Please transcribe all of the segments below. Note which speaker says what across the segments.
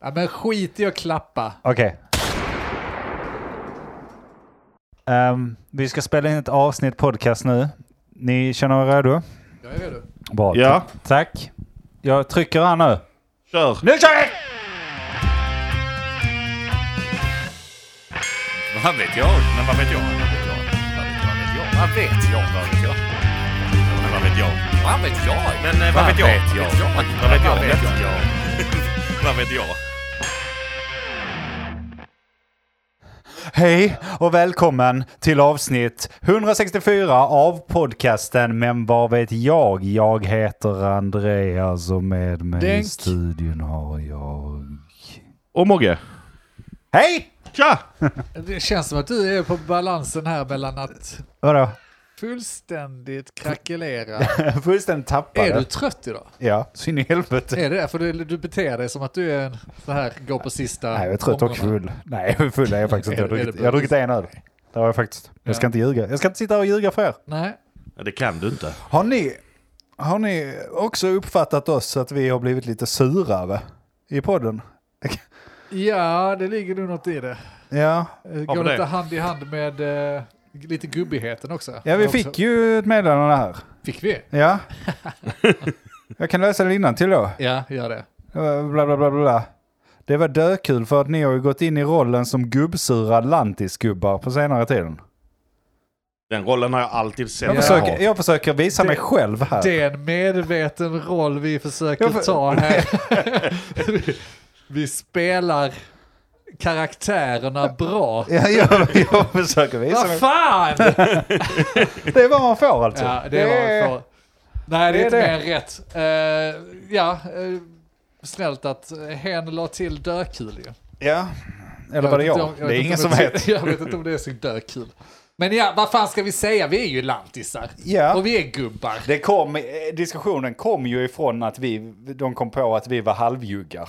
Speaker 1: Ja, men skit i att klappa.
Speaker 2: Okej. Ehm, vi ska spela in ett avsnitt podcast nu. Ni känner er redo?
Speaker 1: Jag är redo.
Speaker 2: Bra.
Speaker 3: Ja.
Speaker 2: ta- Tack. Jag trycker här nu.
Speaker 3: Kör!
Speaker 2: Nu kör vi!
Speaker 4: Vad vet jag? Men vad vet jag? Vad vet jag? Vad vet jag? Vad vet jag? Men vad vet jag? Vad vet jag? Men eh, vad vet jag? Vad vet jag? Vad vet jag? Vad vet jag?
Speaker 2: Hej och välkommen till avsnitt 164 av podcasten Men vad vet jag? Jag heter Andreas och med mig i
Speaker 1: Denk.
Speaker 2: studion har jag...
Speaker 3: Och Mogge.
Speaker 2: Hej!
Speaker 3: Tja!
Speaker 1: Det känns som att du är på balansen här mellan att
Speaker 2: Vadå?
Speaker 1: fullständigt krackelera.
Speaker 2: Fullständigt tappade.
Speaker 1: är du trött idag?
Speaker 2: Ja, så in i helvete.
Speaker 1: Är det det? För du, du beter dig som att du är en så här, går på sista...
Speaker 2: Nej, jag är trött och full. Nej, jag är full är jag faktiskt inte. Jag har
Speaker 1: Är det- är
Speaker 2: druckit,
Speaker 1: det
Speaker 2: jag har druckit en öl. Det har jag faktiskt. Jag ska
Speaker 1: Ja.
Speaker 2: inte ljuga. Jag ska inte sitta här och ljuga för er.
Speaker 1: Nej.
Speaker 3: Ja, det kan du inte.
Speaker 2: Har ni, har ni också uppfattat oss att vi har blivit lite surare i podden?
Speaker 1: Ja, det ligger nog något i det.
Speaker 2: Ja,
Speaker 1: Eh,
Speaker 3: men
Speaker 1: Går
Speaker 3: det-
Speaker 1: lite hand i hand med eh, lite gubbigheten också.
Speaker 2: ja vi
Speaker 1: Också-
Speaker 2: fick ju ett meddelande här.
Speaker 1: Fick vi?
Speaker 2: Ja. Jag kan läsa det till då.
Speaker 1: Ja, gör det.
Speaker 2: Bla, bla, bla, bla. Det var dökul för att ni har ju gått in i rollen som gubbsura lantisgubbar på senare tiden.
Speaker 3: Den rollen har jag alltid sett.
Speaker 2: Jag,
Speaker 1: Ja.
Speaker 2: försöker, jag försöker visa mig
Speaker 1: Det-
Speaker 2: själv här.
Speaker 1: Det är en medveten roll vi försöker
Speaker 2: Jag för-
Speaker 1: ta här. vi, vi spelar karaktärerna bra.
Speaker 2: Ja, jag, jag försöker visa
Speaker 1: Vad
Speaker 2: mig.
Speaker 1: fan!
Speaker 2: Det är vad man får alltså.
Speaker 1: Ja, det var för... Nej, det är
Speaker 2: det
Speaker 1: inte
Speaker 2: är
Speaker 1: mer än rätt. Eh, ja, eh, snällt att hen la till dökul ju.
Speaker 2: Ja. Eller var det
Speaker 1: vet
Speaker 2: jag?
Speaker 1: inte om-
Speaker 2: det
Speaker 1: vet
Speaker 2: är
Speaker 1: inte
Speaker 2: ingen
Speaker 1: om
Speaker 2: som
Speaker 1: jag-
Speaker 2: vet.
Speaker 1: Jag vet inte om det är så dökul. Men ja, vad fan ska vi säga? Vi är ju lantisar.
Speaker 2: Ja.
Speaker 1: Och vi är gubbar.
Speaker 2: Det kom, eh, diskussionen kom ju ifrån att vi, de kom på att vi var halvjuggar.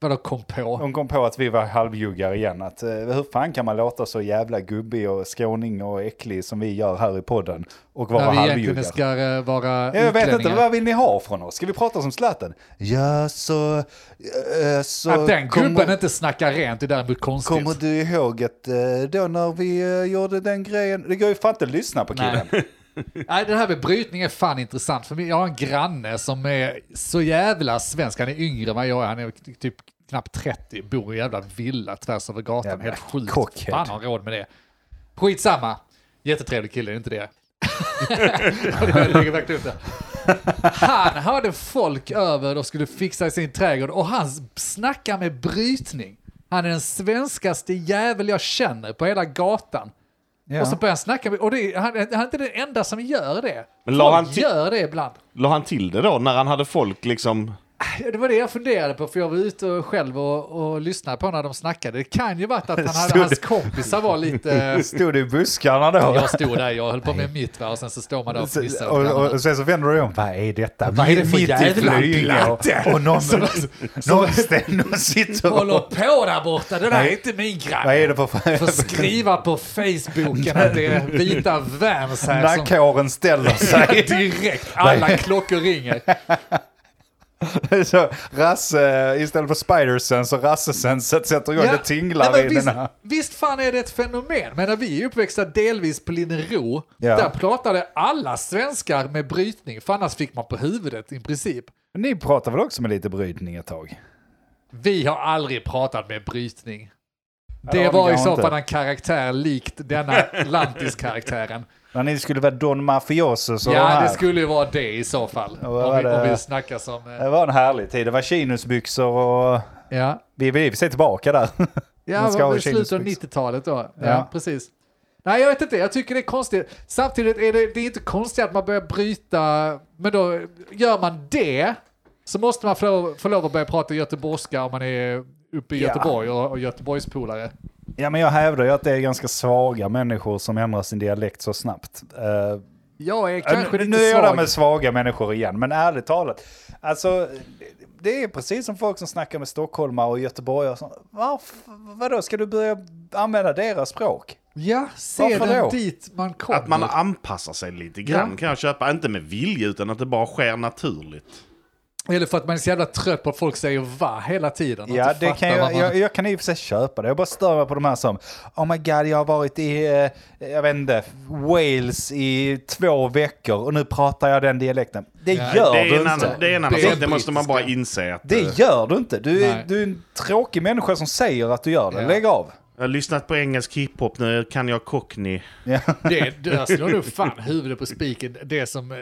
Speaker 1: Vadå kom på?
Speaker 2: De kom på att vi var halvjuggar igen. Att, eh, hur fan kan man låta så jävla gubbig och skåning och äcklig som vi gör här i podden och vara
Speaker 1: När vi egentligen
Speaker 2: halvjuggar?
Speaker 1: ska eh, vara
Speaker 2: Jag vet inte,
Speaker 1: utlänningar.
Speaker 2: vad vill ni ha från oss? Ska vi prata som Zlatan? Ja, så... eh, så
Speaker 1: Att den
Speaker 2: kommer-
Speaker 1: gubben inte snackar rent är däremot konstigt.
Speaker 2: Kommer du ihåg att eh, då när vi eh, gjorde den grejen, det går ju fan inte att lyssna på killen.
Speaker 1: Nej. Nej, det här med brytning är fan intressant. För mig- jag har en granne som är så jävla svensk. Han är yngre än vad jag är. Han är typ knappt 30. Bor i en jävla villa tvärs över gatan.
Speaker 2: Jävla
Speaker 1: Helt sjukt.
Speaker 2: cockhead.
Speaker 1: Fan har råd med det. Skitsamma. Jättetrevlig kille, det är inte det. Jag lägger verkligen upp det. Han hade folk över och skulle fixa sin trädgård och han snackar med brytning. Han är den svenskaste jävel jag känner på hela gatan.
Speaker 2: Ja.
Speaker 1: Och så börjar han snacka med, och det, är- han, han är inte den enda som gör det.
Speaker 3: Men la
Speaker 1: Folk
Speaker 3: han till-
Speaker 1: gör det ibland.
Speaker 3: La han till det då när han hade folk liksom...
Speaker 1: Ja, Det var det jag funderade på, för jag var ute och själv och, och lyssnade på när de snackade. Det kan ju varit att han hade,
Speaker 2: Stod-
Speaker 1: hans kompisar var lite...
Speaker 2: Stod du i buskarna då?
Speaker 1: Jag stod där, jag höll på med mitt va, och sen så står man där och
Speaker 2: Så-
Speaker 1: fnissar.
Speaker 2: och,
Speaker 1: åt
Speaker 2: och,
Speaker 1: varandra.
Speaker 2: och sen så vänder du om. Vad är detta?
Speaker 1: Vad är det för
Speaker 2: Mitt i
Speaker 1: jävla
Speaker 2: Flyinge och- Och någon, någon, någon sitter
Speaker 1: Håller
Speaker 2: och...
Speaker 1: på där borta, det där är
Speaker 2: Nej.
Speaker 1: inte min
Speaker 2: Vad
Speaker 1: granne.
Speaker 2: är det för...
Speaker 1: Får skriva på Facebooken att det är vita Vans här som
Speaker 2: Nackhåren ställer sig.
Speaker 1: direkt, alla klockor ringer.
Speaker 2: så Rasse, istället för Spidersen så Rassesen sätter igång. Det
Speaker 1: nej,
Speaker 2: tinglar
Speaker 1: men
Speaker 2: i den
Speaker 1: visst,
Speaker 2: här.
Speaker 1: visst fan är det ett fenomen. Men när vi är uppväxta delvis på Linnero,
Speaker 2: Ja.
Speaker 1: där pratade alla svenskar med brytning, för annars fick man på huvudet i princip.
Speaker 2: Ni pratar väl också med lite brytning ett tag?
Speaker 1: Vi har aldrig pratat med brytning.
Speaker 2: det
Speaker 1: Det
Speaker 2: har
Speaker 1: var
Speaker 2: vi
Speaker 1: i så
Speaker 2: inte.
Speaker 1: fall en karaktär likt denna lantiskaraktären.
Speaker 2: När ni skulle vara Don Mafioso så
Speaker 1: Ja,
Speaker 2: här.
Speaker 1: det skulle ju vara det i så fall.
Speaker 2: vad
Speaker 1: Om vi,
Speaker 2: var det?
Speaker 1: om vi snackar som... eh,
Speaker 2: det var en härlig tid. Det var chinosbyxor och...
Speaker 1: Ja,
Speaker 2: Vi är väl i och för sig tillbaka där.
Speaker 1: ja
Speaker 2: Man ska ha
Speaker 1: var det slutet av
Speaker 2: chinesbyxor.
Speaker 1: 90-talet då. Ja,
Speaker 2: Ja.
Speaker 1: precis. Nej, jag vet inte. Jag tycker det är konstigt. Samtidigt är det, det är inte konstigt att man börjar bryta, men då gör man det så måste man få, lov- få lov att börja prata göteborgska om man är uppe i
Speaker 2: Ja.
Speaker 1: Göteborg och, och Göteborgspolare.
Speaker 2: Ja, men jag hävdar ju att det är ganska svaga människor som ändrar sin dialekt så snabbt. Eh,
Speaker 1: Jag är kanske
Speaker 2: nu
Speaker 1: lite
Speaker 2: nu är jag där
Speaker 1: svag.
Speaker 2: med svaga människor igen, men ärligt talat. Alltså, det är precis som folk som snackar med stockholmare och göteborgare. och sånt. Varför, vadå, ska du börja använda deras språk?
Speaker 1: Ja, se
Speaker 2: Varför
Speaker 1: den
Speaker 2: då?
Speaker 1: dit man kommer.
Speaker 3: Att man anpassar sig lite grann kan jag köpa. Inte med vilja utan att det bara sker naturligt.
Speaker 1: Eller för att man är så jävla trött på att folk säger va hela tiden. och
Speaker 2: Ja,
Speaker 1: inte
Speaker 2: det
Speaker 1: fattar
Speaker 2: kan
Speaker 1: vad
Speaker 2: jag,
Speaker 1: man-
Speaker 2: jag, jag kan i och för sig köpa det. Jag bara stör mig på de här som Oh my god, jag har varit i, eh, jag vet inte, Wales i två veckor och nu pratar jag den dialekten. Det
Speaker 1: Ja,
Speaker 2: gör
Speaker 3: Det är
Speaker 2: du
Speaker 3: en
Speaker 2: inte.
Speaker 3: annan, det är en annan
Speaker 1: Det är
Speaker 3: sak, det måste man bara
Speaker 1: brittiska.
Speaker 3: inse. Att, eh,
Speaker 2: Det gör du inte. Du är,
Speaker 1: Nej.
Speaker 2: du är en tråkig människa som säger att du gör det.
Speaker 1: Ja.
Speaker 2: Lägg av.
Speaker 3: Jag har lyssnat på engelsk hiphop, nu kan jag cockney.
Speaker 2: Ja.
Speaker 1: Det, det jag slår nog fan huvudet på spiken. Det som eh,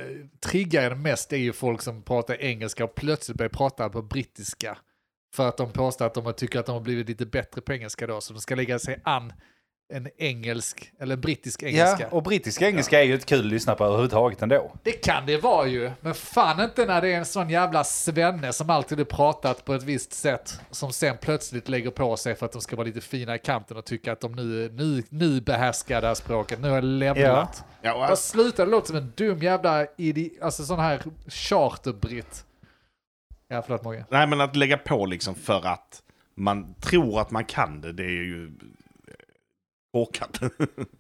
Speaker 1: triggar en mest är ju folk som pratar engelska och plötsligt börjar prata på brittiska. För att de påstår att de har- tycker att de har blivit lite bättre på engelska då, så de ska lägga sig an en engelsk, eller en brittisk
Speaker 2: Ja,
Speaker 1: engelska.
Speaker 2: och brittisk engelska är ju inte kul att lyssna på överhuvudtaget ändå.
Speaker 1: Det kan det vara ju, men fan inte när det är en sån jävla svenne som alltid har pratat på ett visst sätt, som sen plötsligt lägger på sig för att de ska vara lite fina i kanten och tycka att de nu, nu, nu behärskar det här språket, nu har jag levlat.
Speaker 3: Ja, och
Speaker 1: Bara sluta, det låter som en dum jävla idi- alltså sån här charterbritt. Ja, förlåt Mogge.
Speaker 3: Nej, men att lägga på liksom för att man tror att man kan det, det är ju... eh, Korkat.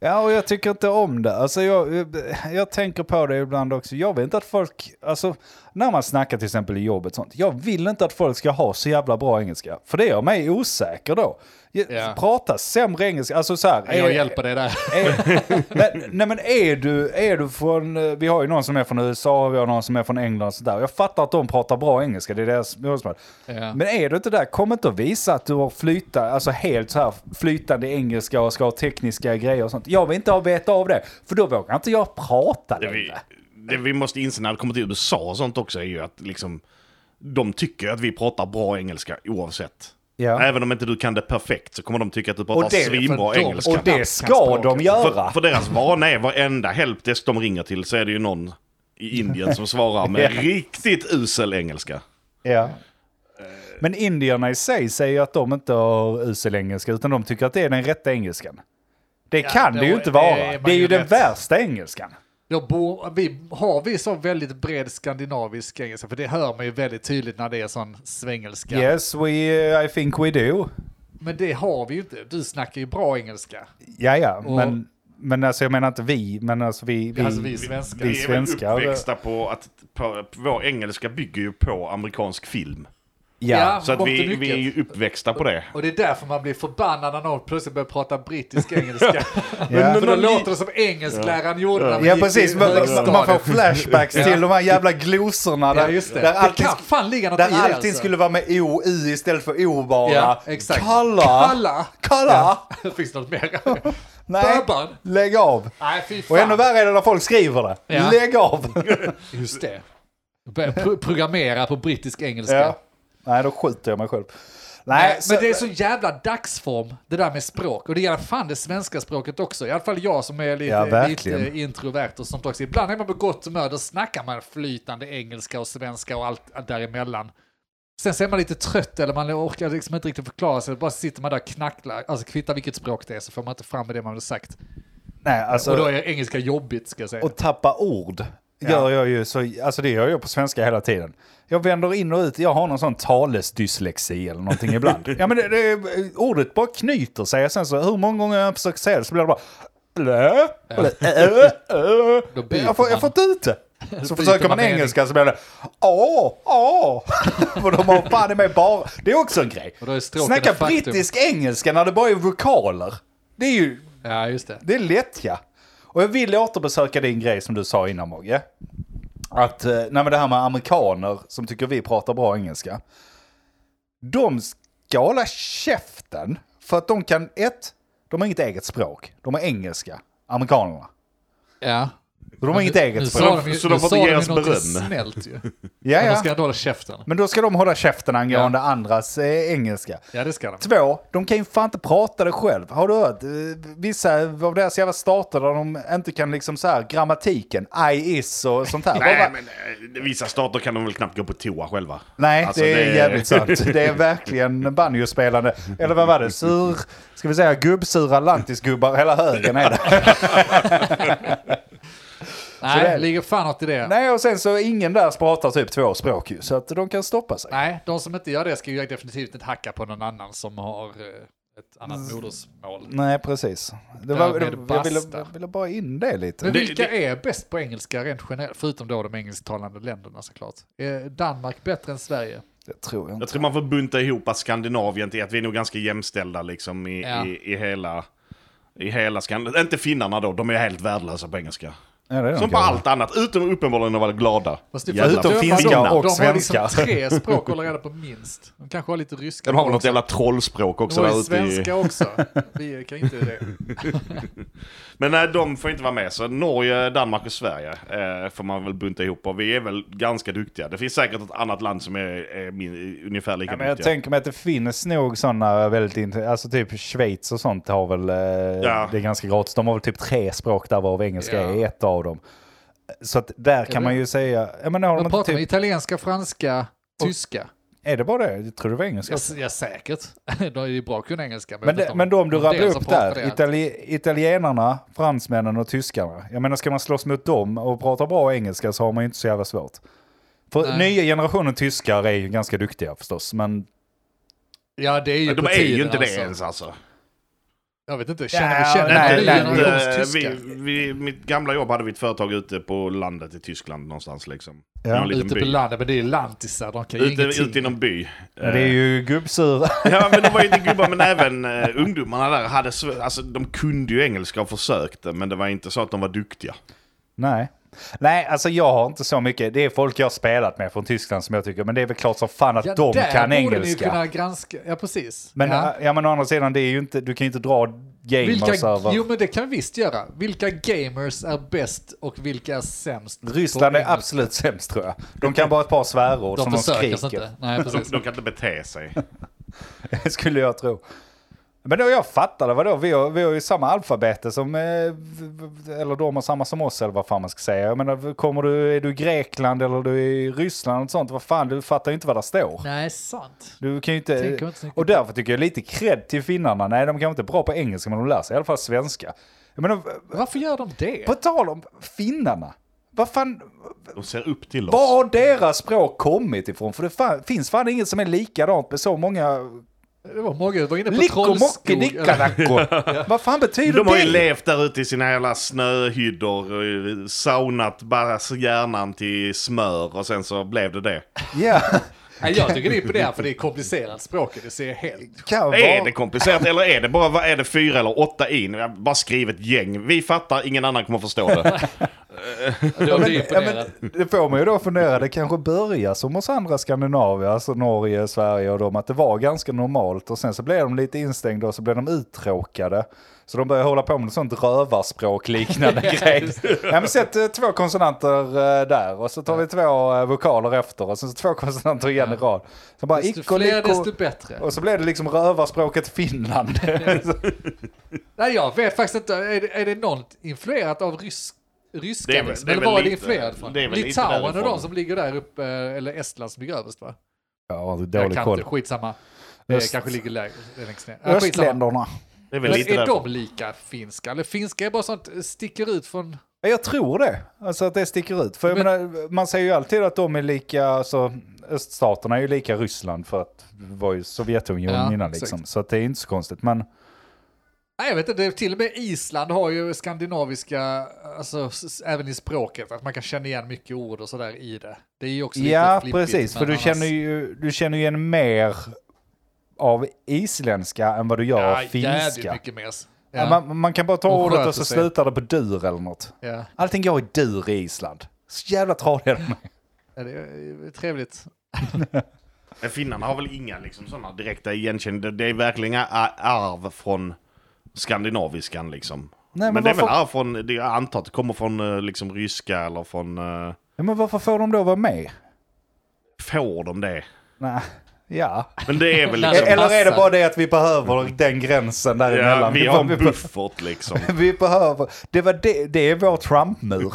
Speaker 2: Ja, och jag tycker inte om det. Alltså, jag, jag tänker på det ibland också. Jag vill inte att folk, alltså, när man snackar till exempel i jobbet och sånt, jag vill inte att folk ska ha så jävla bra engelska. För det gör mig osäker då. Jag,
Speaker 1: Ja.
Speaker 2: Prata sämre engelska, alltså så här.
Speaker 1: Jag
Speaker 2: är-
Speaker 1: hjälper dig där.
Speaker 2: är, nej, nej Eh, men är du, är du från, eh, vi har ju någon som är från USA, vi har någon som är från England och sådär. Jag fattar att de pratar bra engelska, det är deras modersmål.
Speaker 1: Ja.
Speaker 2: Men är du inte där, kom inte och visa att du har flyta, alltså helt så här flytande engelska och ska ha tekniska grejer och sånt. Jag vill inte ha veta av det, för då vågar inte jag prata
Speaker 3: Det vi,
Speaker 2: längre.
Speaker 3: det vi måste inse när det kommer till USA och sånt också är ju att liksom, de tycker att vi pratar bra engelska oavsett.
Speaker 2: Ja.
Speaker 3: Även om inte du kan det perfekt så kommer de tycka att du
Speaker 2: Och
Speaker 3: pratar
Speaker 2: det-
Speaker 3: svinbra
Speaker 1: för de-
Speaker 3: engelska.
Speaker 2: Och det ska de göra.
Speaker 3: För, för deras vana är varenda helpdesk de ringer till så är det ju någon i Indien som svarar med
Speaker 2: Ja.
Speaker 3: riktigt usel engelska.
Speaker 2: Ja. Eh, Men indierna i sig säger ju att de inte har usel engelska, utan de tycker att det är den rätta engelskan. Det kan det,
Speaker 1: det-
Speaker 2: ju inte
Speaker 1: det
Speaker 2: vara.
Speaker 1: är
Speaker 2: Det,
Speaker 1: man
Speaker 2: är ju
Speaker 1: ju
Speaker 2: den
Speaker 1: rätt.
Speaker 2: värsta engelskan.
Speaker 1: Då bor, vi, har vi så väldigt bred skandinavisk engelska? För det hör man ju väldigt tydligt när det är sån svengelska.
Speaker 2: Yes, we, eh, I think we do.
Speaker 1: Men det har vi ju inte. Du snackar ju bra engelska.
Speaker 2: Ja, ja,
Speaker 1: Och-
Speaker 2: men, men alltså jag menar inte vi, men alltså vi... vi,
Speaker 1: Alltså vi svenskar.
Speaker 2: vi-
Speaker 3: Vi är väl
Speaker 2: svenskar.
Speaker 3: uppväxta på att på, på, vår engelska bygger ju på amerikansk film.
Speaker 2: ja.
Speaker 1: Ja.
Speaker 3: Så att
Speaker 1: Mått
Speaker 3: vi,
Speaker 1: och
Speaker 3: vi är ju uppväxta på det.
Speaker 1: Och det är därför man blir förbannad när någon plötsligt börjar prata brittisk engelska.
Speaker 2: Ja.
Speaker 1: För då låter det som engelskläraren gjorde när vi
Speaker 2: Ja
Speaker 1: gick
Speaker 2: precis,
Speaker 1: i
Speaker 2: man, man- man får
Speaker 1: högstadiet.
Speaker 2: flashbacks till de här jävla glosorna där,
Speaker 1: Ja, just det.
Speaker 2: där
Speaker 1: Det
Speaker 2: allting,
Speaker 1: kan fan ligga något
Speaker 2: där
Speaker 1: i det,
Speaker 2: allting
Speaker 1: alltså.
Speaker 2: skulle vara med o, i istället för o bara.
Speaker 1: Ja, exakt.
Speaker 2: Kalla!
Speaker 1: Kalla!
Speaker 2: Kalla.
Speaker 1: Finns det något mer?
Speaker 2: Nej,
Speaker 1: Bourbon.
Speaker 2: lägg av!
Speaker 1: Nej, fy fan.
Speaker 2: Och ännu värre är det när folk skriver det.
Speaker 1: Ja.
Speaker 2: Lägg av!
Speaker 1: Just det. Börja pro- programmera på brittisk engelska.
Speaker 2: ja. Nej, då skjuter jag mig själv. Nej,
Speaker 1: Nej,
Speaker 2: så,
Speaker 1: men det är så jävla dagsform, det där med språk. Och det gäller fan det svenska språket också. I alla fall jag som är
Speaker 2: Ja,
Speaker 1: lite,
Speaker 2: verkligen.
Speaker 1: lite introvert och sånt också. Ibland är man på gott humör, då snackar man flytande engelska och svenska och allt däremellan. Sen så är man lite trött eller man orkar liksom inte riktigt förklara sig. Bara sitter man där och knacklar. Alltså kvittar vilket språk det är så får man inte fram det man har sagt.
Speaker 2: nej,
Speaker 1: Och då
Speaker 2: alltså,
Speaker 1: är engelska jobbigt ska jag säga.
Speaker 2: och tappa ord gör jag ju så, alltså det gör jag på svenska hela tiden. Jag vänder in och ut, jag har någon sån talesdyslexi eller någonting ibland. ja men det, det, ordet bara knyter sig och sen så hur många gånger jag än försöker säga det så blir det bara Lö, lö, ö, ö.
Speaker 1: Då byter
Speaker 2: Jag får jag
Speaker 1: man.
Speaker 2: får inte ut det. Så försöker man
Speaker 1: man mening.
Speaker 2: engelska så blir det åh, åh. För de har fan i mig bara, det är också en grej.
Speaker 1: Och då är stråken
Speaker 2: Snacka
Speaker 1: ett faktum.
Speaker 2: brittisk engelska när det bara är vokaler. Det är ju
Speaker 1: Ja, just det.
Speaker 2: det är lättja. Och jag vill återbesöka din grej som du sa innan Mogge. Att, eh, nej men det här med amerikaner som tycker vi pratar bra engelska. De ska hålla käften för att de kan, ett, de har inget eget språk. De har engelska, amerikanerna.
Speaker 1: Ja.
Speaker 2: Så de har inget eget
Speaker 1: nu
Speaker 2: språk.
Speaker 1: sa de ju,
Speaker 3: Så de
Speaker 1: nu
Speaker 3: får
Speaker 1: sa
Speaker 3: inte
Speaker 1: de
Speaker 3: ge
Speaker 1: ju
Speaker 3: oss
Speaker 1: någonting
Speaker 3: beröm.
Speaker 1: snällt ju.
Speaker 2: Ja,
Speaker 1: Men de ska
Speaker 2: ja.
Speaker 1: ändå hålla käften.
Speaker 2: Men då ska de hålla käften angående andras eh, engelska.
Speaker 1: Ja, det ska de.
Speaker 2: Två, de kan ju fan inte prata det själv. Har du hört? eh, Vissa av deras jävla stater där de inte kan liksom så här grammatiken, I is och sånt här. Bara-
Speaker 3: Nej, men eh, vissa stater kan de väl knappt gå på toa själva.
Speaker 2: Nej,
Speaker 3: Alltså,
Speaker 2: det är jävligt sant. Det är verkligen banjospelande. Eller vad var det? Sur, ska vi säga gubbsura lantisgubbar hela högen är det.
Speaker 1: Nej,
Speaker 2: det är-
Speaker 1: det ligger fan något i det. Nej.
Speaker 2: Nej, och sen så ingen där pratar typ två språk ju, så att de kan stoppa sig.
Speaker 1: de som inte gör det ska ju definitivt inte hacka på någon annan som har eh, ett annat
Speaker 2: Mm.
Speaker 1: modersmål.
Speaker 2: Nej, precis. Det
Speaker 1: Därmed
Speaker 2: var, det, jag ville,
Speaker 1: basta.
Speaker 2: ville bara in det lite.
Speaker 1: Men
Speaker 3: Det-
Speaker 1: vilka
Speaker 3: det-
Speaker 1: är bäst på engelska rent generellt? Förutom då de engelsktalande länderna såklart. Är Danmark bättre än Sverige?
Speaker 2: Det tror jag
Speaker 3: Jag
Speaker 2: inte.
Speaker 3: tror man får bunta ihop att Skandinavien till att vi är nog ganska jämställda liksom i,
Speaker 1: Ja.
Speaker 3: i, i hela... I hela Skandinavien. Inte finnarna då, de är helt värdelösa på engelska.
Speaker 2: Ja, det är
Speaker 3: Som
Speaker 2: nog
Speaker 3: på
Speaker 2: kanske.
Speaker 3: allt annat, utom uppenbarligen att vara glada.
Speaker 1: Fast det
Speaker 3: Jävla
Speaker 1: får inte
Speaker 2: Förutom
Speaker 1: glömma
Speaker 2: finska
Speaker 1: dem.
Speaker 2: och
Speaker 1: De har liksom
Speaker 2: svenska.
Speaker 1: tre språk att hålla reda på minst. De kanske har lite ryska.
Speaker 3: De har väl något
Speaker 1: också.
Speaker 3: jävla trollspråk
Speaker 1: De
Speaker 3: också
Speaker 1: har
Speaker 3: där
Speaker 1: ju
Speaker 3: ute i...
Speaker 1: svenska också. Vi kan ju inte det.
Speaker 3: Men nej, de får inte vara med. Så Norge, Danmark och Sverige eh, får man väl bunta ihop. Och vi är väl ganska duktiga. Det finns säkert ett annat land som är, är min, ungefär lika
Speaker 2: Ja, men jag
Speaker 3: duktiga.
Speaker 2: tänker mig att det finns nog sådana väldigt intressanta, alltså typ Schweiz och sånt har väl, eh,
Speaker 3: Ja.
Speaker 2: det är ganska gratis. De har väl typ tre språk där varav engelska
Speaker 1: Ja.
Speaker 2: är ett av dem. Så att där kan man ju säga, ja men har
Speaker 1: De
Speaker 2: de inte
Speaker 1: pratar med
Speaker 2: typ,
Speaker 1: italienska, franska, tyska.
Speaker 2: är det bara det? Jag tror det var engelska.
Speaker 1: Ja, s- ja säkert. De är ju bra att kunna engelska. jag
Speaker 2: Alltså-
Speaker 1: vet
Speaker 2: Men, det,
Speaker 1: inte om
Speaker 2: men då om du
Speaker 1: de
Speaker 2: rabblar
Speaker 1: dels
Speaker 2: upp
Speaker 1: har pratat
Speaker 2: där,
Speaker 1: det.
Speaker 2: itali italienarna, fransmännen och tyskarna. Jag menar, ska man slåss mot dem och prata bra engelska så har man ju inte så jävla svårt. För
Speaker 1: Nej.
Speaker 2: nya generationen tyskar är ju ganska duktiga förstås, men...
Speaker 1: Ja, det är ju
Speaker 3: Men de
Speaker 1: på
Speaker 3: är ju
Speaker 1: tiden,
Speaker 3: inte
Speaker 1: alltså.
Speaker 3: det ens alltså.
Speaker 1: Jag vet inte, känner
Speaker 2: Ja,
Speaker 1: vi känner
Speaker 2: nej,
Speaker 1: vi
Speaker 2: nej,
Speaker 1: en
Speaker 2: eh, nej.
Speaker 1: generations
Speaker 3: vi,
Speaker 1: tyskar?
Speaker 3: vi, mitt gamla jobb hade vi ett företag ute på landet i Tyskland någonstans liksom.
Speaker 2: Ja.
Speaker 3: I någon liten
Speaker 1: Ute på
Speaker 3: by.
Speaker 1: landet, men det är lantisar, de kan ju
Speaker 3: Ute,
Speaker 1: ingenting.
Speaker 3: ute i någon by. Eh,
Speaker 2: Det är ju gubbsura.
Speaker 3: Ja, men det var ju inte gubbar, men även eh, ungdomarna där hade... sv- Alltså, de kunde ju engelska och försökte, men det var inte så att de var duktiga.
Speaker 2: Nej. Nej, alltså jag har inte så mycket. Det är folk jag har spelat med från Tyskland som jag tycker, men det är väl klart som fan att de
Speaker 1: där
Speaker 2: kan
Speaker 1: borde ni ju
Speaker 2: engelska.
Speaker 1: kunna granska, ja precis.
Speaker 2: Men,
Speaker 1: ja.
Speaker 2: ja. men å andra sidan, det är ju inte, du kan ju inte dra gamers
Speaker 1: Vilka,
Speaker 2: över...
Speaker 1: jo men det kan vi visst göra. Vilka gamers är bäst och vilka är sämst? på
Speaker 2: Ryssland är
Speaker 1: engelska?
Speaker 2: absolut sämst tror jag. De kan bara ett par svärord som
Speaker 1: De
Speaker 2: de
Speaker 1: försöker sig
Speaker 2: skriker.
Speaker 1: inte. Nej,
Speaker 3: De,
Speaker 1: precis.
Speaker 3: de kan inte bete sig.
Speaker 2: Det skulle jag tro. Men då jag fattade, vadå, vi har, vi har ju samma alfabete som, eh, v- v- eller de har samma som oss eller vad fan man ska säga. Jag menar, kommer du, är du i Grekland eller du är i Ryssland och sånt, vad fan, du fattar ju inte vad där står.
Speaker 1: Nej, sant.
Speaker 2: Du kan ju inte...
Speaker 1: Tänker man inte så mycket
Speaker 2: och därför tycker jag lite cred till finnarna. Nej, de kanske inte är bra på engelska, men de lär sig i alla fall svenska. Jag menar,
Speaker 1: Varför gör de det?
Speaker 2: på tal om finnarna. Vad fan,
Speaker 3: De ser upp till oss.
Speaker 2: var har deras språk kommit ifrån? För det fan, finns fan inget som är likadant med så många...
Speaker 1: Det var många som var inne på
Speaker 2: Lickomocki,
Speaker 1: trollskog. eller-
Speaker 2: nickanacko. Vad fan betyder
Speaker 3: De har ju
Speaker 2: det?
Speaker 3: levt där ute i sina jävla snöhyddor, och saunat bara hjärnan till smör och sen så blev det det.
Speaker 2: Ja,
Speaker 1: Nej, jag tycker det är imponerande för det är komplicerat språket. Det ser helt...
Speaker 2: kan
Speaker 3: Är det
Speaker 2: vara.
Speaker 3: komplicerat eller är det bara, vad är det, fyra eller åtta in? Jag bara skriv ett gäng. Vi fattar, ingen annan kommer förstå det.
Speaker 1: Jag blir
Speaker 2: Ja,
Speaker 1: imponerad.
Speaker 2: men, det får man ju då fundera, det kanske börjar som hos andra Skandinavier, alltså Norge, Sverige och dem, att det var ganska normalt och sen så blev de lite instängda och så blev de uttråkade. Så de började hålla på med något sånt rövarspråk liknande grej. Ja, men sätt eh, två konsonanter eh, där och så tar vi två eh, vokaler efter och sen så två konsonanter igen i rad. Så bara
Speaker 1: Desto
Speaker 2: icko,
Speaker 1: fler,
Speaker 2: licko,
Speaker 1: desto bättre.
Speaker 2: och så blev det liksom rövarspråket Finland.
Speaker 1: Nej, jag vet faktiskt inte. Är det, är det något influerat av rysk, ryska?
Speaker 3: Det är väl-
Speaker 1: liksom?
Speaker 3: det är
Speaker 1: eller
Speaker 3: väl
Speaker 1: var är det
Speaker 3: lite-
Speaker 1: influerat från?
Speaker 3: det är väl lite
Speaker 1: Litauen och
Speaker 3: därifrån.
Speaker 1: de som ligger där uppe, eller Estland som ligger överst va?
Speaker 2: ja,
Speaker 1: Jag
Speaker 2: dålig
Speaker 1: kan
Speaker 2: koll.
Speaker 1: inte, skitsamma. Det
Speaker 2: Öst-
Speaker 1: kanske ligger lägre, längst ner. Äh, skitsamma.
Speaker 2: Östländerna.
Speaker 3: Det är väl
Speaker 1: Men
Speaker 3: lite
Speaker 1: är
Speaker 3: där.
Speaker 1: de lika finska? Eller finska är bara sånt eh, sticker ut från...
Speaker 2: Ja, Jag tror det. Alltså att det sticker ut. För jag menar, man säger ju alltid att de är lika, alltså öststaterna är ju lika Ryssland för att det var ju Sovjetunionen
Speaker 1: Ja,
Speaker 2: innan liksom. Så att det är inte så konstigt. Men
Speaker 1: Nej, jag vet inte, det är till och med Island har ju skandinaviska, alltså s- s- även i språket, att man kan känna igen mycket ord och sådär i det. Det är ju också
Speaker 2: ja,
Speaker 1: lite flippigt.
Speaker 2: precis. För
Speaker 1: men
Speaker 2: du
Speaker 1: annars-
Speaker 2: känner, ju, du känner ju igen mer av isländska än vad du gör av
Speaker 1: ja, jävligt
Speaker 2: finska.
Speaker 1: mycket mer. s- Ja,
Speaker 2: Ja. Man, man kan bara ta
Speaker 1: De
Speaker 2: ordet
Speaker 1: sköter
Speaker 2: och så
Speaker 1: sig.
Speaker 2: slutar det på dur eller något.
Speaker 1: ja.
Speaker 2: Allting går i dur i Island. Så jävla tradiga de är.
Speaker 1: Ja, det är trevligt.
Speaker 3: Men finnarna har väl inga liksom, sådana direkta igenkänningar. Det är verkligen inga a- arv från skandinaviskan liksom.
Speaker 2: Nej, men
Speaker 3: men det är väl
Speaker 2: varför-
Speaker 3: arv från, det jag antar att det kommer från eh, liksom, ryska eller från... eh,
Speaker 2: Ja, men varför får de då vara med?
Speaker 3: Får de det?
Speaker 2: Nej, ja.
Speaker 3: Men det är väl
Speaker 1: Lär
Speaker 3: liksom...
Speaker 1: dem.
Speaker 2: Eller är det
Speaker 1: passar.
Speaker 2: bara det att vi behöver den gränsen däremellan?
Speaker 3: Ja, vi har
Speaker 2: Vi
Speaker 3: en
Speaker 2: behöver-
Speaker 3: buffert liksom.
Speaker 2: Vi behöver, det, var det, det är vår Trump-mur.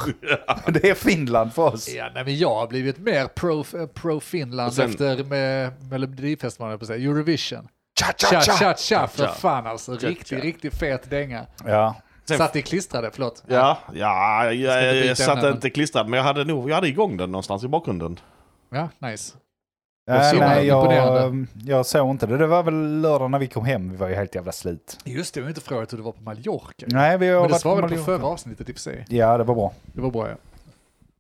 Speaker 2: Det är Finland för oss.
Speaker 1: Ja, nej, men jag har blivit mer pro- eh, pro-Finland
Speaker 3: Och sen-
Speaker 1: efter med Melodifestivalen, höll jag på att säga, Eurovision.
Speaker 2: Tja,
Speaker 1: Tja,
Speaker 2: tja,
Speaker 1: tja,
Speaker 2: tja.
Speaker 1: tja, för
Speaker 3: Tja.
Speaker 1: fan alltså.
Speaker 3: Tja,
Speaker 1: Riktig,
Speaker 3: tja.
Speaker 1: riktig fet dänga.
Speaker 2: Ja.
Speaker 3: Sen-
Speaker 1: Satt i klistrade, förlåt.
Speaker 3: Ja, ja jag,
Speaker 1: inte
Speaker 3: jag,
Speaker 1: byta
Speaker 3: satt
Speaker 1: ämnen.
Speaker 3: inte klistrad, men jag hade nog, jag hade igång den någonstans i bakgrunden.
Speaker 1: Ja, nice.
Speaker 2: Ja, Äh,
Speaker 1: så
Speaker 2: nej, jag, ehm,
Speaker 1: imponerande.
Speaker 2: jag såg inte det. Det var väl lördag när vi kom hem. Vi var ju helt jävla slut.
Speaker 1: Just det, vi har inte frågat hur det var på Mallorca.
Speaker 2: Nej, vi
Speaker 1: Men
Speaker 2: har
Speaker 1: det
Speaker 2: varit på
Speaker 1: svarade på
Speaker 2: Mallorca.
Speaker 1: förra avsnittet i och för sig.
Speaker 2: Ja, det var bra.
Speaker 1: Det var bra ja.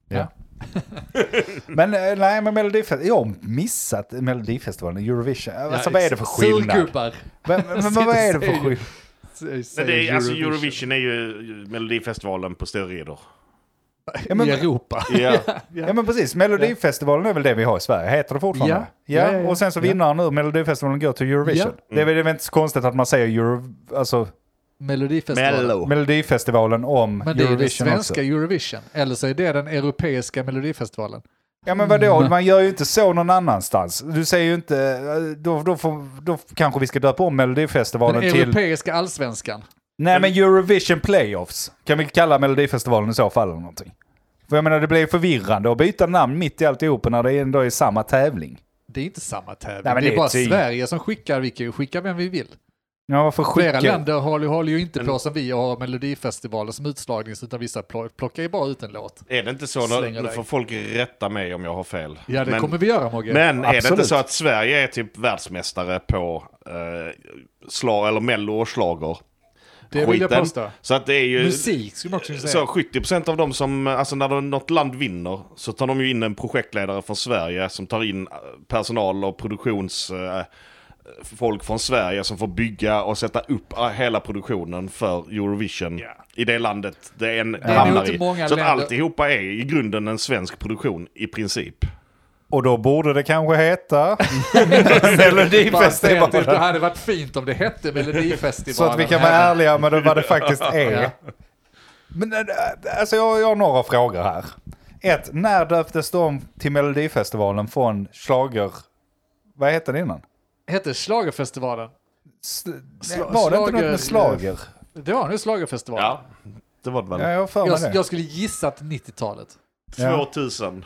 Speaker 2: Ja. men eh, nej, men Melodifestivalen. Jag har missat Melodifestivalen, Eurovision. Alltså vad är det för skillnad?
Speaker 1: Surgubbar.
Speaker 2: Men, men, men vad är det för
Speaker 1: Säg-
Speaker 2: skillnad?
Speaker 3: Men det är, alltså Eurovision är ju Melodifestivalen på steroider.
Speaker 2: Ja, men-
Speaker 1: I Europa.
Speaker 3: Ja.
Speaker 2: Ja men precis, Melodifestivalen är väl det vi har i Sverige, heter det fortfarande?
Speaker 1: Ja.
Speaker 2: ja,
Speaker 1: Ja, ja, ja.
Speaker 2: och sen så
Speaker 1: Ja.
Speaker 2: vinnaren nu Melodifestivalen går till Eurovision.
Speaker 1: Ja.
Speaker 2: Det är väl det är väl inte så konstigt att man säger Euro, alltså,
Speaker 1: Melodifestivalen.
Speaker 2: Melodifestivalen om
Speaker 1: Oh. Men det är det
Speaker 2: Eurovision också.
Speaker 1: svenska Eurovision. Eller så är det den europeiska melodifestivalen.
Speaker 2: Ja men vadå,
Speaker 1: Mm.
Speaker 2: man gör ju inte så någon annanstans. Du säger ju inte, eh, då, då, får, då kanske vi ska döpa om Melodifestivalen
Speaker 1: Den
Speaker 2: till...
Speaker 1: europeiska allsvenskan.
Speaker 2: Nej men Eurovision Playoffs kan vi kalla Melodifestivalen i så fall eller någonting. För jag menar det blir förvirrande att byta namn mitt i alltihopa när det ändå är samma tävling.
Speaker 1: Det är inte samma tävling.
Speaker 2: Nej, men
Speaker 1: det är
Speaker 2: det är typ-
Speaker 1: bara
Speaker 2: tyg.
Speaker 1: Sverige som skickar. Vi kan ju skicka vem vi vill.
Speaker 2: Ja varför
Speaker 1: Flera
Speaker 2: skickar...
Speaker 1: länder håller, håller ju inte på som vi och har melodifestivaler som utslagning. Utan vissa plo- plockar ju bara ut en låt.
Speaker 3: Är det inte så? Nu,
Speaker 1: Slänger
Speaker 3: nu
Speaker 1: dig.
Speaker 3: får folk rätta mig om jag har fel.
Speaker 1: Ja, det
Speaker 3: men,
Speaker 1: kommer vi göra Mogge.
Speaker 3: men är det inte
Speaker 2: Absolut.
Speaker 3: så att Sverige är typ världsmästare på eh, slag, eller mello och schlager?
Speaker 1: det vill jag
Speaker 3: skiten.
Speaker 1: påstå.
Speaker 3: Så att det är ju...
Speaker 1: Musik skulle man också kunna
Speaker 3: Så
Speaker 1: säga.
Speaker 3: 70% av dem som, alltså när de- något land vinner så tar de ju in en projektledare från Sverige som tar in eh, personal och produktionsfolk från Sverige som får bygga och sätta upp eh, hela produktionen för Eurovision i det landet det en
Speaker 1: är nog
Speaker 3: hamnar
Speaker 1: inte
Speaker 3: i.
Speaker 1: många
Speaker 3: så att
Speaker 1: länder-
Speaker 3: alltihopa är i grunden en svensk produktion i princip.
Speaker 2: Och då borde det kanske heta
Speaker 1: Bara säga att det det
Speaker 2: Melodifestivalen.
Speaker 1: hade varit fint om det hette Melodifestivalen.
Speaker 2: Så att vi kan vara ärliga med det- vad det faktiskt är. Men äh, alltså jag, jag har några frågor här. Ett, när döptes de om till Melodifestivalen från slager... Vad hette det innan?
Speaker 1: Hette Schlagerfestivalen.
Speaker 2: S- var det inte något med
Speaker 1: slager-
Speaker 2: slager?
Speaker 1: Det var nu Schlagerfestivalen.
Speaker 3: Ja, det var det väl.
Speaker 2: Ja, jag har för mig
Speaker 1: Jag,
Speaker 2: det.
Speaker 1: jag skulle gissa att 90-talet.
Speaker 2: Ja.
Speaker 3: 2001.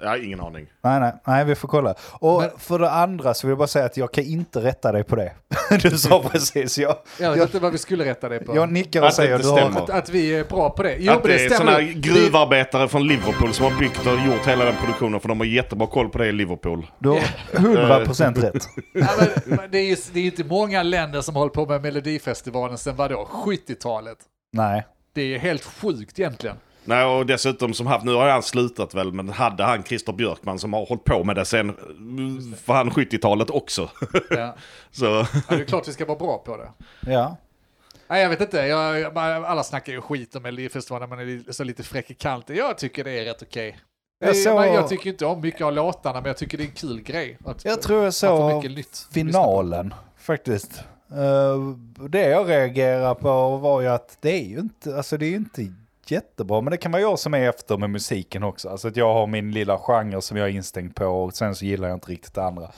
Speaker 3: Ja, ingen aning.
Speaker 2: Nej, nej, nej, vi får kolla. Och
Speaker 1: Men-
Speaker 2: för det andra så vill jag bara säga att jag kan inte rätta dig på det. Du sa precis, jag,
Speaker 1: Jag vet
Speaker 2: jag,
Speaker 1: inte vad vi skulle rätta det på.
Speaker 2: jag nickar och
Speaker 3: Att det
Speaker 2: säger
Speaker 3: inte
Speaker 2: du har
Speaker 3: stämmer.
Speaker 1: att, att vi är bra på det. Jo,
Speaker 3: att
Speaker 1: men
Speaker 3: det är sådana
Speaker 1: stämmer.
Speaker 3: här gruvarbetare från Liverpool som har byggt och gjort hela den produktionen för de har jättebra koll på det i Liverpool.
Speaker 2: du har 100% rätt.
Speaker 1: Det, ja, men, men det, är ju, det är ju inte många länder som håller på med Melodifestivalen sen vadå? 70-talet.
Speaker 2: Nej.
Speaker 1: Det är helt sjukt egentligen.
Speaker 3: Nej, och dessutom som haft, nu har han slutat väl, men hade han Christer Björkman som har hållit på med det sen, eh, för han 70-talet också.
Speaker 1: Ja.
Speaker 3: Så,
Speaker 1: Ja, det är klart vi ska vara bra på det.
Speaker 2: Ja.
Speaker 1: Nej, jag vet inte. Jag, jag, bara- alla snackar ju skit om Melodifestivalen, men är li- så lite fräck i kanten. Jag tycker det är rätt okej.
Speaker 2: Jag
Speaker 1: Det-
Speaker 2: såg-
Speaker 1: men Jag tycker inte om mycket av låtarna, men jag tycker det är en kul grej. Att,
Speaker 2: Jag tror jag
Speaker 1: att få
Speaker 2: såg
Speaker 1: mycket nytt. att lyssna på.
Speaker 2: finalen faktiskt. Eh, det jag reagerar på var ju att det är ju inte, alltså det är ju inte jättebra, men det kan vara jag som är efter med musiken också. Alltså att jag har min lilla genre som jag är instängd på och sen så gillar jag inte riktigt det andra.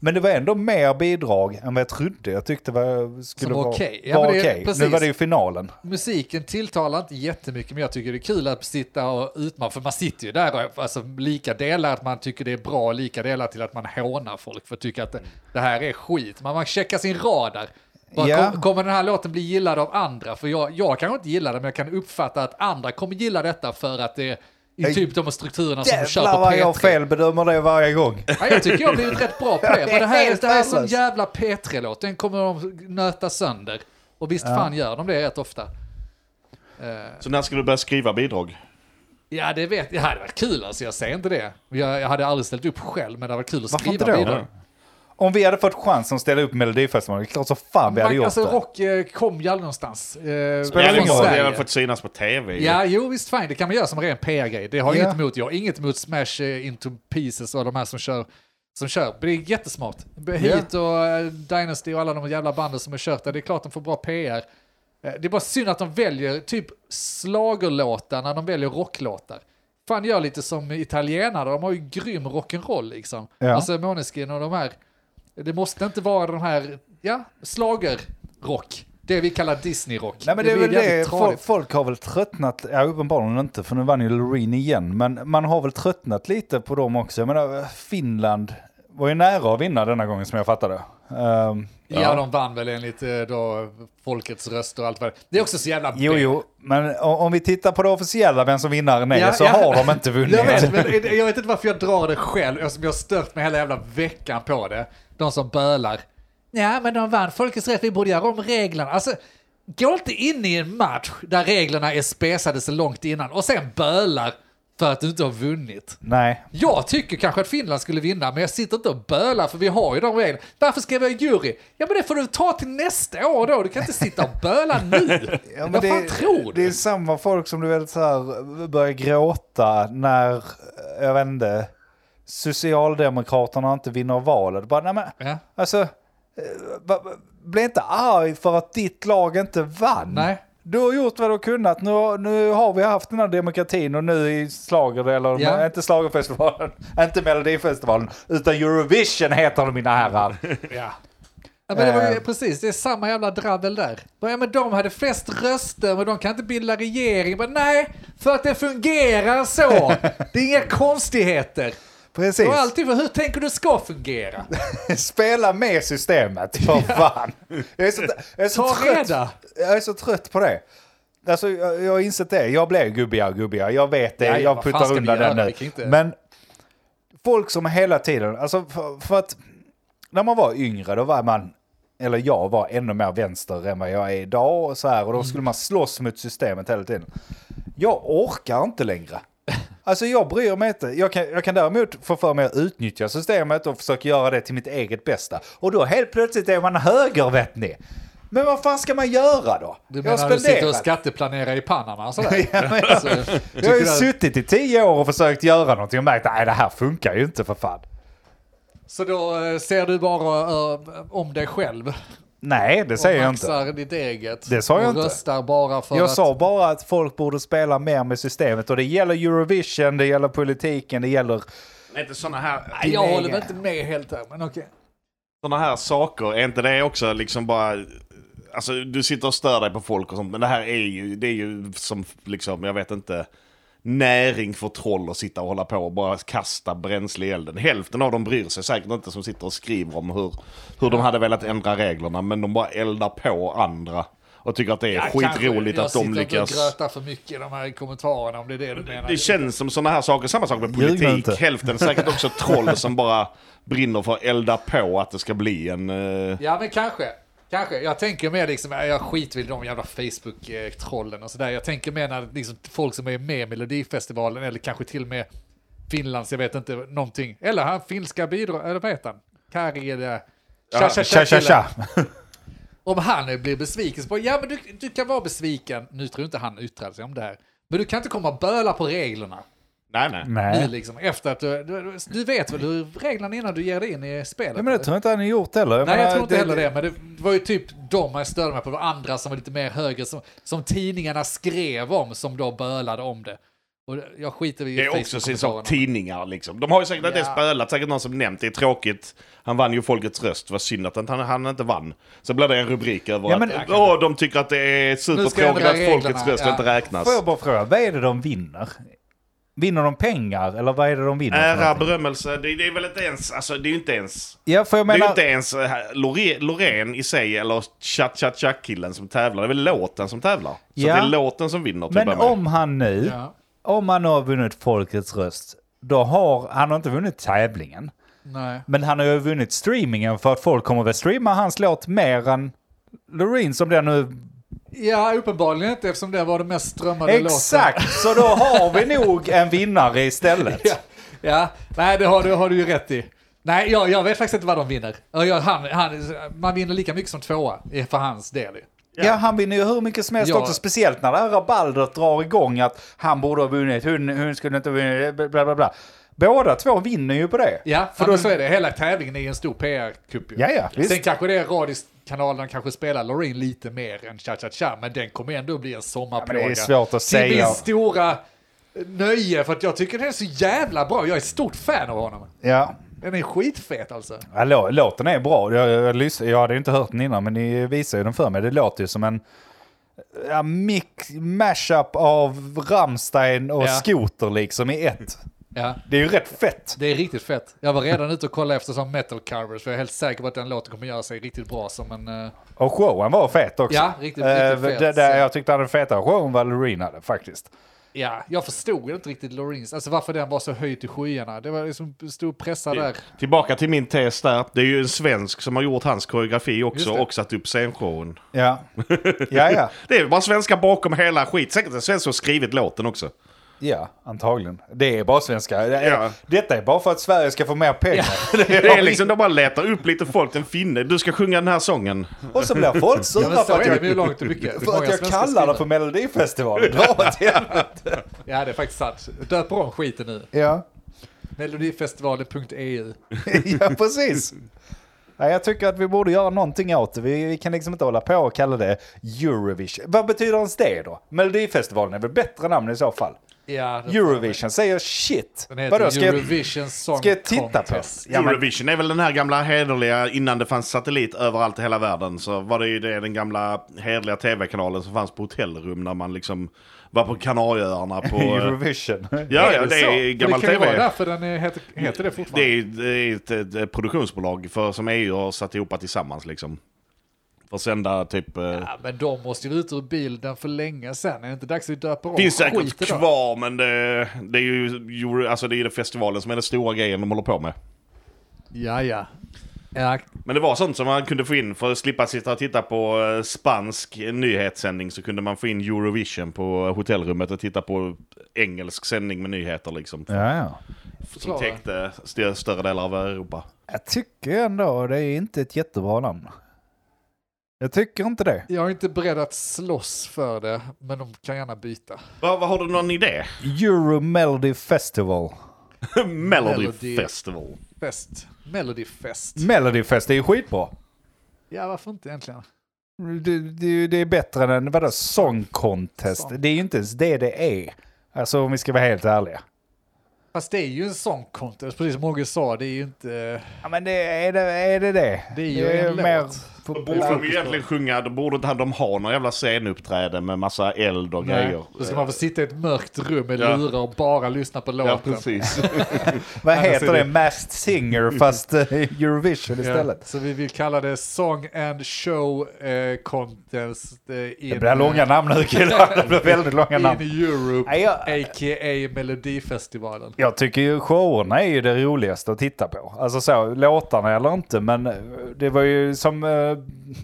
Speaker 2: Men det var ändå mer bidrag än vad jag trodde. Jag tyckte det var- skulle
Speaker 1: Som
Speaker 2: vara
Speaker 1: okej. Ja,
Speaker 2: var
Speaker 1: men det är-
Speaker 2: okej. Nu
Speaker 1: precis.
Speaker 2: var det ju finalen.
Speaker 1: Musiken tilltalar inte jättemycket, men jag tycker det är kul att sitta och utmana, för man sitter ju där och alltså, lika delar att man tycker det är bra, lika delar till att man hånar folk för att tycka att det, det här är skit. Man, man checkar sin radar. Bara,
Speaker 2: Ja.
Speaker 1: kom, kommer den här låten bli gillad av andra? För jag, jag kanske inte gillar det, men jag kan uppfatta att andra kommer gilla detta för att det är
Speaker 2: Ej,
Speaker 1: typ de strukturerna som de kör på
Speaker 2: Jävlar vad jag
Speaker 1: P3.
Speaker 2: felbedömer det varje gång.
Speaker 1: Ja, jag tycker jag har blivit rätt bra på det. Men det här, är- det här är sån
Speaker 2: Helt
Speaker 1: jävla P3-låt. Den kommer de nöta sönder. Och visst fan gör de det rätt ofta.
Speaker 3: så när ska du börja skriva bidrag?
Speaker 1: Ja, det vet jag. Det hade varit kul alltså, jag säger inte det. Jag, jag hade aldrig ställt upp själv, men det hade varit kul att
Speaker 2: Varför inte
Speaker 1: skriva
Speaker 2: då?
Speaker 1: bidrag.
Speaker 2: Om vi hade fått chansen att ställa upp Melodifestivalen, det är klart så fan vi hade
Speaker 1: Man,
Speaker 2: gjort
Speaker 1: alltså,
Speaker 2: det.
Speaker 1: rock eh, kom ju aldrig någonstans. Eh,
Speaker 3: Ja, det
Speaker 1: från
Speaker 2: ingen roll.
Speaker 3: har
Speaker 1: Sverige.
Speaker 3: väl fått synas på tv?
Speaker 1: Ja, jo visst fan, det kan man göra som ren PR-grej. Det har jag
Speaker 2: Ja.
Speaker 1: inget emot. Jag har inget emot Smash eh, Into Pieces och de här som kör. Som kör. Det är jättesmart. B- Heat och eh, Dynasty och alla de jävla banden som är kört där, det är klart de får bra PR. Eh, Det är bara synd att de väljer typ slagerlåtar när de väljer rocklåtar. Fan gör lite som italienare, de har ju grym rock'n'roll liksom.
Speaker 2: Ja.
Speaker 1: Alltså Måneskin och de här. Det måste inte vara de här, ja, slagerrock. Det vi kallar Disney-rock.
Speaker 2: Nej men det är väl
Speaker 1: blir jävligt
Speaker 2: det,
Speaker 1: tradigt.
Speaker 2: folk, folk har väl tröttnat, ja uppenbarligen inte för nu vann ju Loreen igen, men man har väl tröttnat lite på dem också. Jag menar Finland var ju nära att vinna denna gången som jag fattade. Ehm,
Speaker 1: Ja, de vann väl enligt eh, då, folkets röster och allt vad det Det är också så jävla
Speaker 2: jo,
Speaker 1: B.
Speaker 2: jo, men o- om vi tittar på det officiella, vem som vinnaren är,
Speaker 1: Ja,
Speaker 2: så
Speaker 1: ja.
Speaker 2: har de inte vunnit.
Speaker 1: Jag vet, men jag vet inte varför jag drar det själv, eftersom jag har stört mig hela jävla veckan på det. De som bölar. Ja, men de vann folkets rätt, vi borde göra om reglerna. Alltså, gå inte in i en match där reglerna är spesade så långt innan och sen bölar för att du inte har vunnit.
Speaker 2: Nej,
Speaker 1: Jag tycker kanske att Finland skulle vinna, men jag sitter inte och bölar för vi har ju de reglerna. Varför ska vi ha jury? Ja, men det får du ta till nästa år då. Du kan inte sitta och böla nu.
Speaker 2: Ja, men
Speaker 1: Vad
Speaker 2: det,
Speaker 1: fan tror
Speaker 2: Det
Speaker 1: du?
Speaker 2: är samma folk som du vet så här börjar gråta när, jag vet inte, Socialdemokraterna inte vinner valet. Bara, nej men,
Speaker 1: Ja.
Speaker 2: alltså, eh, va- va- bli inte arg för att ditt lag inte vann.
Speaker 1: Nej.
Speaker 2: Du har gjort vad du har kunnat. Nu, nu har vi haft den här demokratin och nu i slager eller
Speaker 1: Ja.
Speaker 2: inte slagerfestivalen, inte melodifestivalen, utan Eurovision heter det mina herrar.
Speaker 1: Ja. men det var ju
Speaker 2: Eh.
Speaker 1: precis, det är samma jävla drabbel där. Bara, Ja, men de hade flest röster, men de kan inte bilda regering. Men nej, för att det fungerar så. Det är inga konstigheter.
Speaker 2: Precis.
Speaker 1: Och alltid för hur tänker du ska fungera?
Speaker 2: Spela med systemet, för fan. Jag är så, jag är så
Speaker 1: Ta
Speaker 2: trött.
Speaker 1: reda.
Speaker 2: Jag är så trött på det. Alltså, jag, jag har insett det. Jag blev gubbigare och gubbigare. Jag vet det.
Speaker 1: Ja, ja,
Speaker 2: jag
Speaker 1: vad fan
Speaker 2: puttar
Speaker 1: ska vi
Speaker 2: undan
Speaker 1: göra?
Speaker 2: den nu.
Speaker 1: Vi kan inte-
Speaker 2: Men folk som hela tiden... Alltså, för, för att när man var yngre, då var man... Eller jag var ännu mer vänster än vad jag är idag. Och, så här,
Speaker 1: Mm.
Speaker 2: och då skulle man slåss mot systemet hela tiden. Jag orkar inte längre. Alltså jag bryr mig inte. Jag kan, jag kan däremot få för mig att utnyttja systemet och försöka göra det till mitt eget bästa. Och då helt plötsligt är man höger vet ni. Men vad fan ska man göra då?
Speaker 1: Du
Speaker 2: Jag
Speaker 1: menar
Speaker 2: har
Speaker 1: du sitter och
Speaker 2: spenderat-
Speaker 1: skatteplanerar i Panama och sådär?
Speaker 2: Ja, men jag-
Speaker 1: Så,
Speaker 2: Jag har
Speaker 1: tycker
Speaker 2: ju
Speaker 1: du att-
Speaker 2: suttit i tio år och försökt göra någonting och märkt att det här funkar ju inte för fan.
Speaker 1: så då eh, ser du bara eh, om dig själv?
Speaker 2: Nej, det säger jag
Speaker 1: och
Speaker 2: inte.
Speaker 1: maxar ditt eget?
Speaker 2: Det sa
Speaker 1: och
Speaker 2: jag inte.
Speaker 1: röstar bara för
Speaker 2: Jag
Speaker 1: att...
Speaker 2: sa bara att folk borde spela mer med systemet och det gäller Eurovision, det gäller politiken, det gäller...
Speaker 3: Är inte sådana här,
Speaker 1: Nej, jag
Speaker 2: din
Speaker 1: håller väl
Speaker 2: egen.
Speaker 1: inte med helt där, men okej.
Speaker 3: såna här saker, är inte det också liksom bara... Alltså du sitter och stör dig på folk och sånt, men det här är ju, det är ju som liksom, jag vet inte, näring för troll att sitta och hålla på och bara kasta bränsle i elden. Hälften av dem bryr sig säkert inte som sitter och skriver om hur, hur de hade velat ändra reglerna, men de bara eldar på andra och tycker att det är skitroligt att de
Speaker 1: Jag sitter inte och
Speaker 3: lyckas.
Speaker 1: grötar för mycket i de här kommentarerna om det är det du menar.
Speaker 3: Det känns som sådana här saker, samma sak med
Speaker 2: Ljug nu
Speaker 3: politik.
Speaker 2: inte.
Speaker 3: Hälften säkert också troll som bara brinner för att elda på att det ska bli en... eh,
Speaker 1: Ja, men kanske. Kanske. Jag tänker mer liksom, äh, jag skiter väl i de jävla Facebook-trollen och sådär. Jag tänker mer när liksom, folk som är med i Melodifestivalen eller kanske till och med Finlands, jag vet inte, någonting. Eller han finska bidrar, eller vad heter han? Karjele... Tja, tja, tja,
Speaker 2: Tja, tja, tja.
Speaker 1: Om han blir besviken så bara, ja men du, du kan vara besviken. Nu tror jag inte han yttrade sig om det här. Men du kan inte komma och böla på reglerna.
Speaker 3: Nej, nej.
Speaker 1: Nu
Speaker 2: Nej.
Speaker 1: liksom, efter att du, du, du vet väl hur reglerna innan du ger dig in i spelet.
Speaker 2: Ja, men det tror jag inte han har gjort heller.
Speaker 1: Nej, jag
Speaker 2: menar,
Speaker 1: tror inte heller det, men det var ju typ de jag störde mig på. Det var andra som var lite mer höger, som, som tidningarna skrev om, som då bölade om det. Och jag skiter i
Speaker 3: Det är också sin sak,
Speaker 1: Facebook-kommentarerna.
Speaker 3: tidningar liksom. De har ju säkert att det
Speaker 1: Ja.
Speaker 3: spölat, säkert någon som nämnt det är tråkigt. Han vann ju folkets röst, vad synd att han, han inte vann. Så blir det en rubrik över
Speaker 2: Ja, men-
Speaker 3: att eh, Åh, de tycker att det är supertråkigt
Speaker 1: ändra
Speaker 3: att folkets
Speaker 1: reglerna,
Speaker 3: röst
Speaker 1: ja.
Speaker 3: inte räknas.
Speaker 2: Får jag bara fråga, vad är det de vinner? Vinner de pengar eller vad är det de vinner? för
Speaker 3: Ära,
Speaker 2: någonting?
Speaker 3: berömmelse, det, det är väl inte ens, alltså det är ju inte ens...
Speaker 2: Ja, för jag
Speaker 3: Det är ju
Speaker 2: menar...
Speaker 3: inte ens eh, Lore- Loreen i sig eller cha cha cha killen som tävlar. Det är väl låten som tävlar. Så
Speaker 2: Ja.
Speaker 3: det är låten som vinner till
Speaker 2: Men
Speaker 3: att börja med.
Speaker 2: om han nu,
Speaker 1: Ja.
Speaker 2: om han har vunnit folkets röst, då har han har inte vunnit tävlingen.
Speaker 1: Nej.
Speaker 2: Men han har ju vunnit streamingen för att folk kommer väl streama hans låt mer än Loreen som den nu...
Speaker 1: Ja, uppenbarligen inte, eftersom det var den mest strömmade låten.
Speaker 2: Exakt! Så då har vi nog en vinnare istället.
Speaker 1: Ja, ja. nej det har du, har du ju rätt i. Nej, jag, jag vet faktiskt inte vad de vinner. Ja, Jag, han, han, man vinner lika mycket som tvåa eh, för hans del. ju.
Speaker 2: Ja. han vinner ju hur mycket som helst
Speaker 1: Ja.
Speaker 2: också. Speciellt när det här rabaldret drar igång att han borde ha vunnit, hon, hon skulle inte ha vunnit, bla bla bla. Båda två vinner ju på det.
Speaker 1: Ja, för då så är det. Hela tävlingen är ju en stor PR-kupp ju.
Speaker 2: Ja, ja, visst.
Speaker 1: Sen kanske det är radiokanalerna kanske spelar Loreen lite mer än Cha Cha Cha, men den kommer ändå bli en sommarplåga.
Speaker 2: Ja, men det är svårt
Speaker 1: Till
Speaker 2: att säga.
Speaker 1: min stora eh, nöje, för att jag tycker den är så jävla bra. Jag är ett stort fan av honom.
Speaker 2: Ja.
Speaker 1: Den är skitfet alltså.
Speaker 2: Ja, lå- låten är bra. Jag, jag, lys- jag hade ju inte hört den innan, men ni visar ju den för mig. Det låter ju som en ja, mix, mashup av Rammstein och
Speaker 1: Ja.
Speaker 2: Skoter liksom i ett.
Speaker 1: Ja,
Speaker 2: Det är ju rätt fett.
Speaker 1: det är riktigt fett. Jag var redan ute och kollade efter som metal covers för jag är helt säker på att den låten kommer göra sig riktigt bå som en... eh,
Speaker 2: Och showen var fet också.
Speaker 1: Ja, riktigt,
Speaker 2: Eh,
Speaker 1: riktigt fet.
Speaker 2: Det, där jag tyckte han hade fetare show än vad Loreen hade faktiskt.
Speaker 1: ja, jag förstod inte riktigt Loreens, alltså varför den var så höjd till skyarna. Det var liksom stor pressa där.
Speaker 3: Tillbaka till min tes där. Det är ju en svensk som har gjort hans koreografi också
Speaker 1: Just det.
Speaker 3: och satt upp scenshowen.
Speaker 2: Ja, ja, ja.
Speaker 3: Det är bara svenskar bakom hela skit. Säkert en svensk som har skrivit låten också.
Speaker 2: ja antagligen. Det är bara svenska. Det är,
Speaker 3: Ja.
Speaker 2: Detta är bara för att Sverige ska få mer pengar.
Speaker 3: Det är liksom, de bara letar upp lite folk, en finne. Du ska sjunga den här sången.
Speaker 2: Och så blir folk
Speaker 1: Ja,
Speaker 2: sura
Speaker 1: men så
Speaker 2: för
Speaker 1: är
Speaker 2: att
Speaker 1: det
Speaker 2: jag,
Speaker 1: ju långt och mycket.
Speaker 2: för att jag kallar det för Melodifestivalen. Dra åt helvete.
Speaker 1: Ja, det är faktiskt sant. Döp om skiten nu. E
Speaker 2: Ja.
Speaker 1: Melodifestivalen.eu.
Speaker 2: ja, precis. Nej, jag tycker att vi borde göra någonting åt det. Vi, vi kan liksom inte hålla på och kalla det Eurovision. Vad betyder ens det då? Melodifestivalen är väl bättre namn i så fall?
Speaker 1: Ja, det-
Speaker 2: Eurovision säger shit.
Speaker 1: Den heter
Speaker 2: ska jag,
Speaker 1: Eurovision Song
Speaker 2: ska jag titta på?
Speaker 1: Contest.
Speaker 2: Ja, men,
Speaker 3: Eurovision är väl den här gamla hederliga, innan det fanns satellit överallt i hela världen så var det ju det, den gamla hederliga tv-kanalen som fanns på hotellrum när man liksom var på Kanarieöarna på... eh,
Speaker 2: Eurovision.
Speaker 3: ja, ja,
Speaker 1: Är
Speaker 3: det
Speaker 1: så?
Speaker 3: är gammal
Speaker 1: För Det kan ju
Speaker 3: tv.
Speaker 1: vara därför den är, heter, heter det
Speaker 3: Det
Speaker 1: fortfarande.
Speaker 3: är, det är ett, ett, ett produktionsbolag för, som EU har satt ihop tillsammans liksom. För att sända typ... eh,
Speaker 1: Ja, men de måste ju ut ur bilden för länge sedan. Är det inte dags att döpa om
Speaker 3: Finns säkert
Speaker 1: skiten då?
Speaker 3: kvar men det, det är ju Euro- alltså det är ju festivalen som är den stora grejen de håller på med.
Speaker 1: Ja, ja. ja
Speaker 3: Men det var sånt som man kunde få in för att slippa sitta och titta på eh, spansk nyhetssändning så kunde man få in Eurovision på hotellrummet och titta på engelsk sändning med nyheter liksom.
Speaker 2: Ja, ja.
Speaker 3: Som täckte stö- större delar av Europa.
Speaker 2: Jag tycker ändå det är inte ett jättebra namn. Jag tycker inte det.
Speaker 1: jag är inte beredd att slåss för det, men de kan gärna byta.
Speaker 3: Vad vad har du någon idé?
Speaker 2: Euro Melody Festival.
Speaker 3: Melody Festival.
Speaker 1: Fest. Melodifest.
Speaker 2: Melody Fest är ju skitbra.
Speaker 1: Ja, varför inte egentligen?
Speaker 2: Det, det, det är bättre än vadå, Song Contest.
Speaker 1: Song.
Speaker 2: Det är ju inte ens det det är. Alltså om vi ska vara helt ärliga.
Speaker 1: Fast det är ju en sån contest, precis som Mogge sa. Det är ju inte... eh,
Speaker 2: Ja men det, är, det, är det det?
Speaker 1: Det är ju en låt.
Speaker 2: på-
Speaker 3: Borde de egentligen sjunga, då borde inte de ha några jävla scenuppträden med massa eld och grejer.
Speaker 1: Då ska man få sitta i ett mörkt rum med
Speaker 3: Ja.
Speaker 1: lurar och bara lyssna på låten.
Speaker 3: Ja, precis.
Speaker 2: Vad heter
Speaker 1: är
Speaker 2: det?
Speaker 1: det-
Speaker 2: Masked Singer fast eh, Eurovision istället.
Speaker 1: Så vi vill kalla det Song and Show eh, Contest eh, in,
Speaker 2: Det blir långa namn nu killar. Det blir väldigt långa
Speaker 1: in
Speaker 2: namn.
Speaker 1: Europe,
Speaker 2: Nej, jag-
Speaker 1: a.k.a. Melodifestivalen.
Speaker 2: Jag tycker ju showerna är ju det roligaste att titta på. Alltså så, låtarna eller inte, men eh, det var ju som, eh,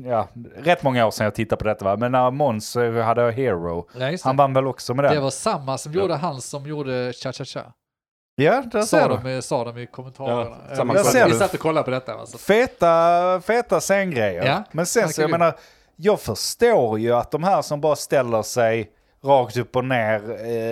Speaker 2: ja, rätt många år sedan jag tittade på detta va. Men när Måns eh, hade Hero,
Speaker 1: Ja, just det.
Speaker 2: han vann väl också med den?
Speaker 1: Det var samma som gjorde han som gjorde Cha Cha Cha.
Speaker 2: Ja, där
Speaker 1: Sa
Speaker 2: sa du.
Speaker 1: de, sa de i kommentarerna.
Speaker 3: Ja, samma
Speaker 1: vi,
Speaker 2: kväll.
Speaker 1: satt, vi satt och kollade på detta. Alltså.
Speaker 2: Feta, feta sänggrejer.
Speaker 1: Ja,
Speaker 2: Men sen så, jag
Speaker 1: verkligen.
Speaker 2: menar, jag förstår ju att de här som bara ställer sig rakt upp och ner,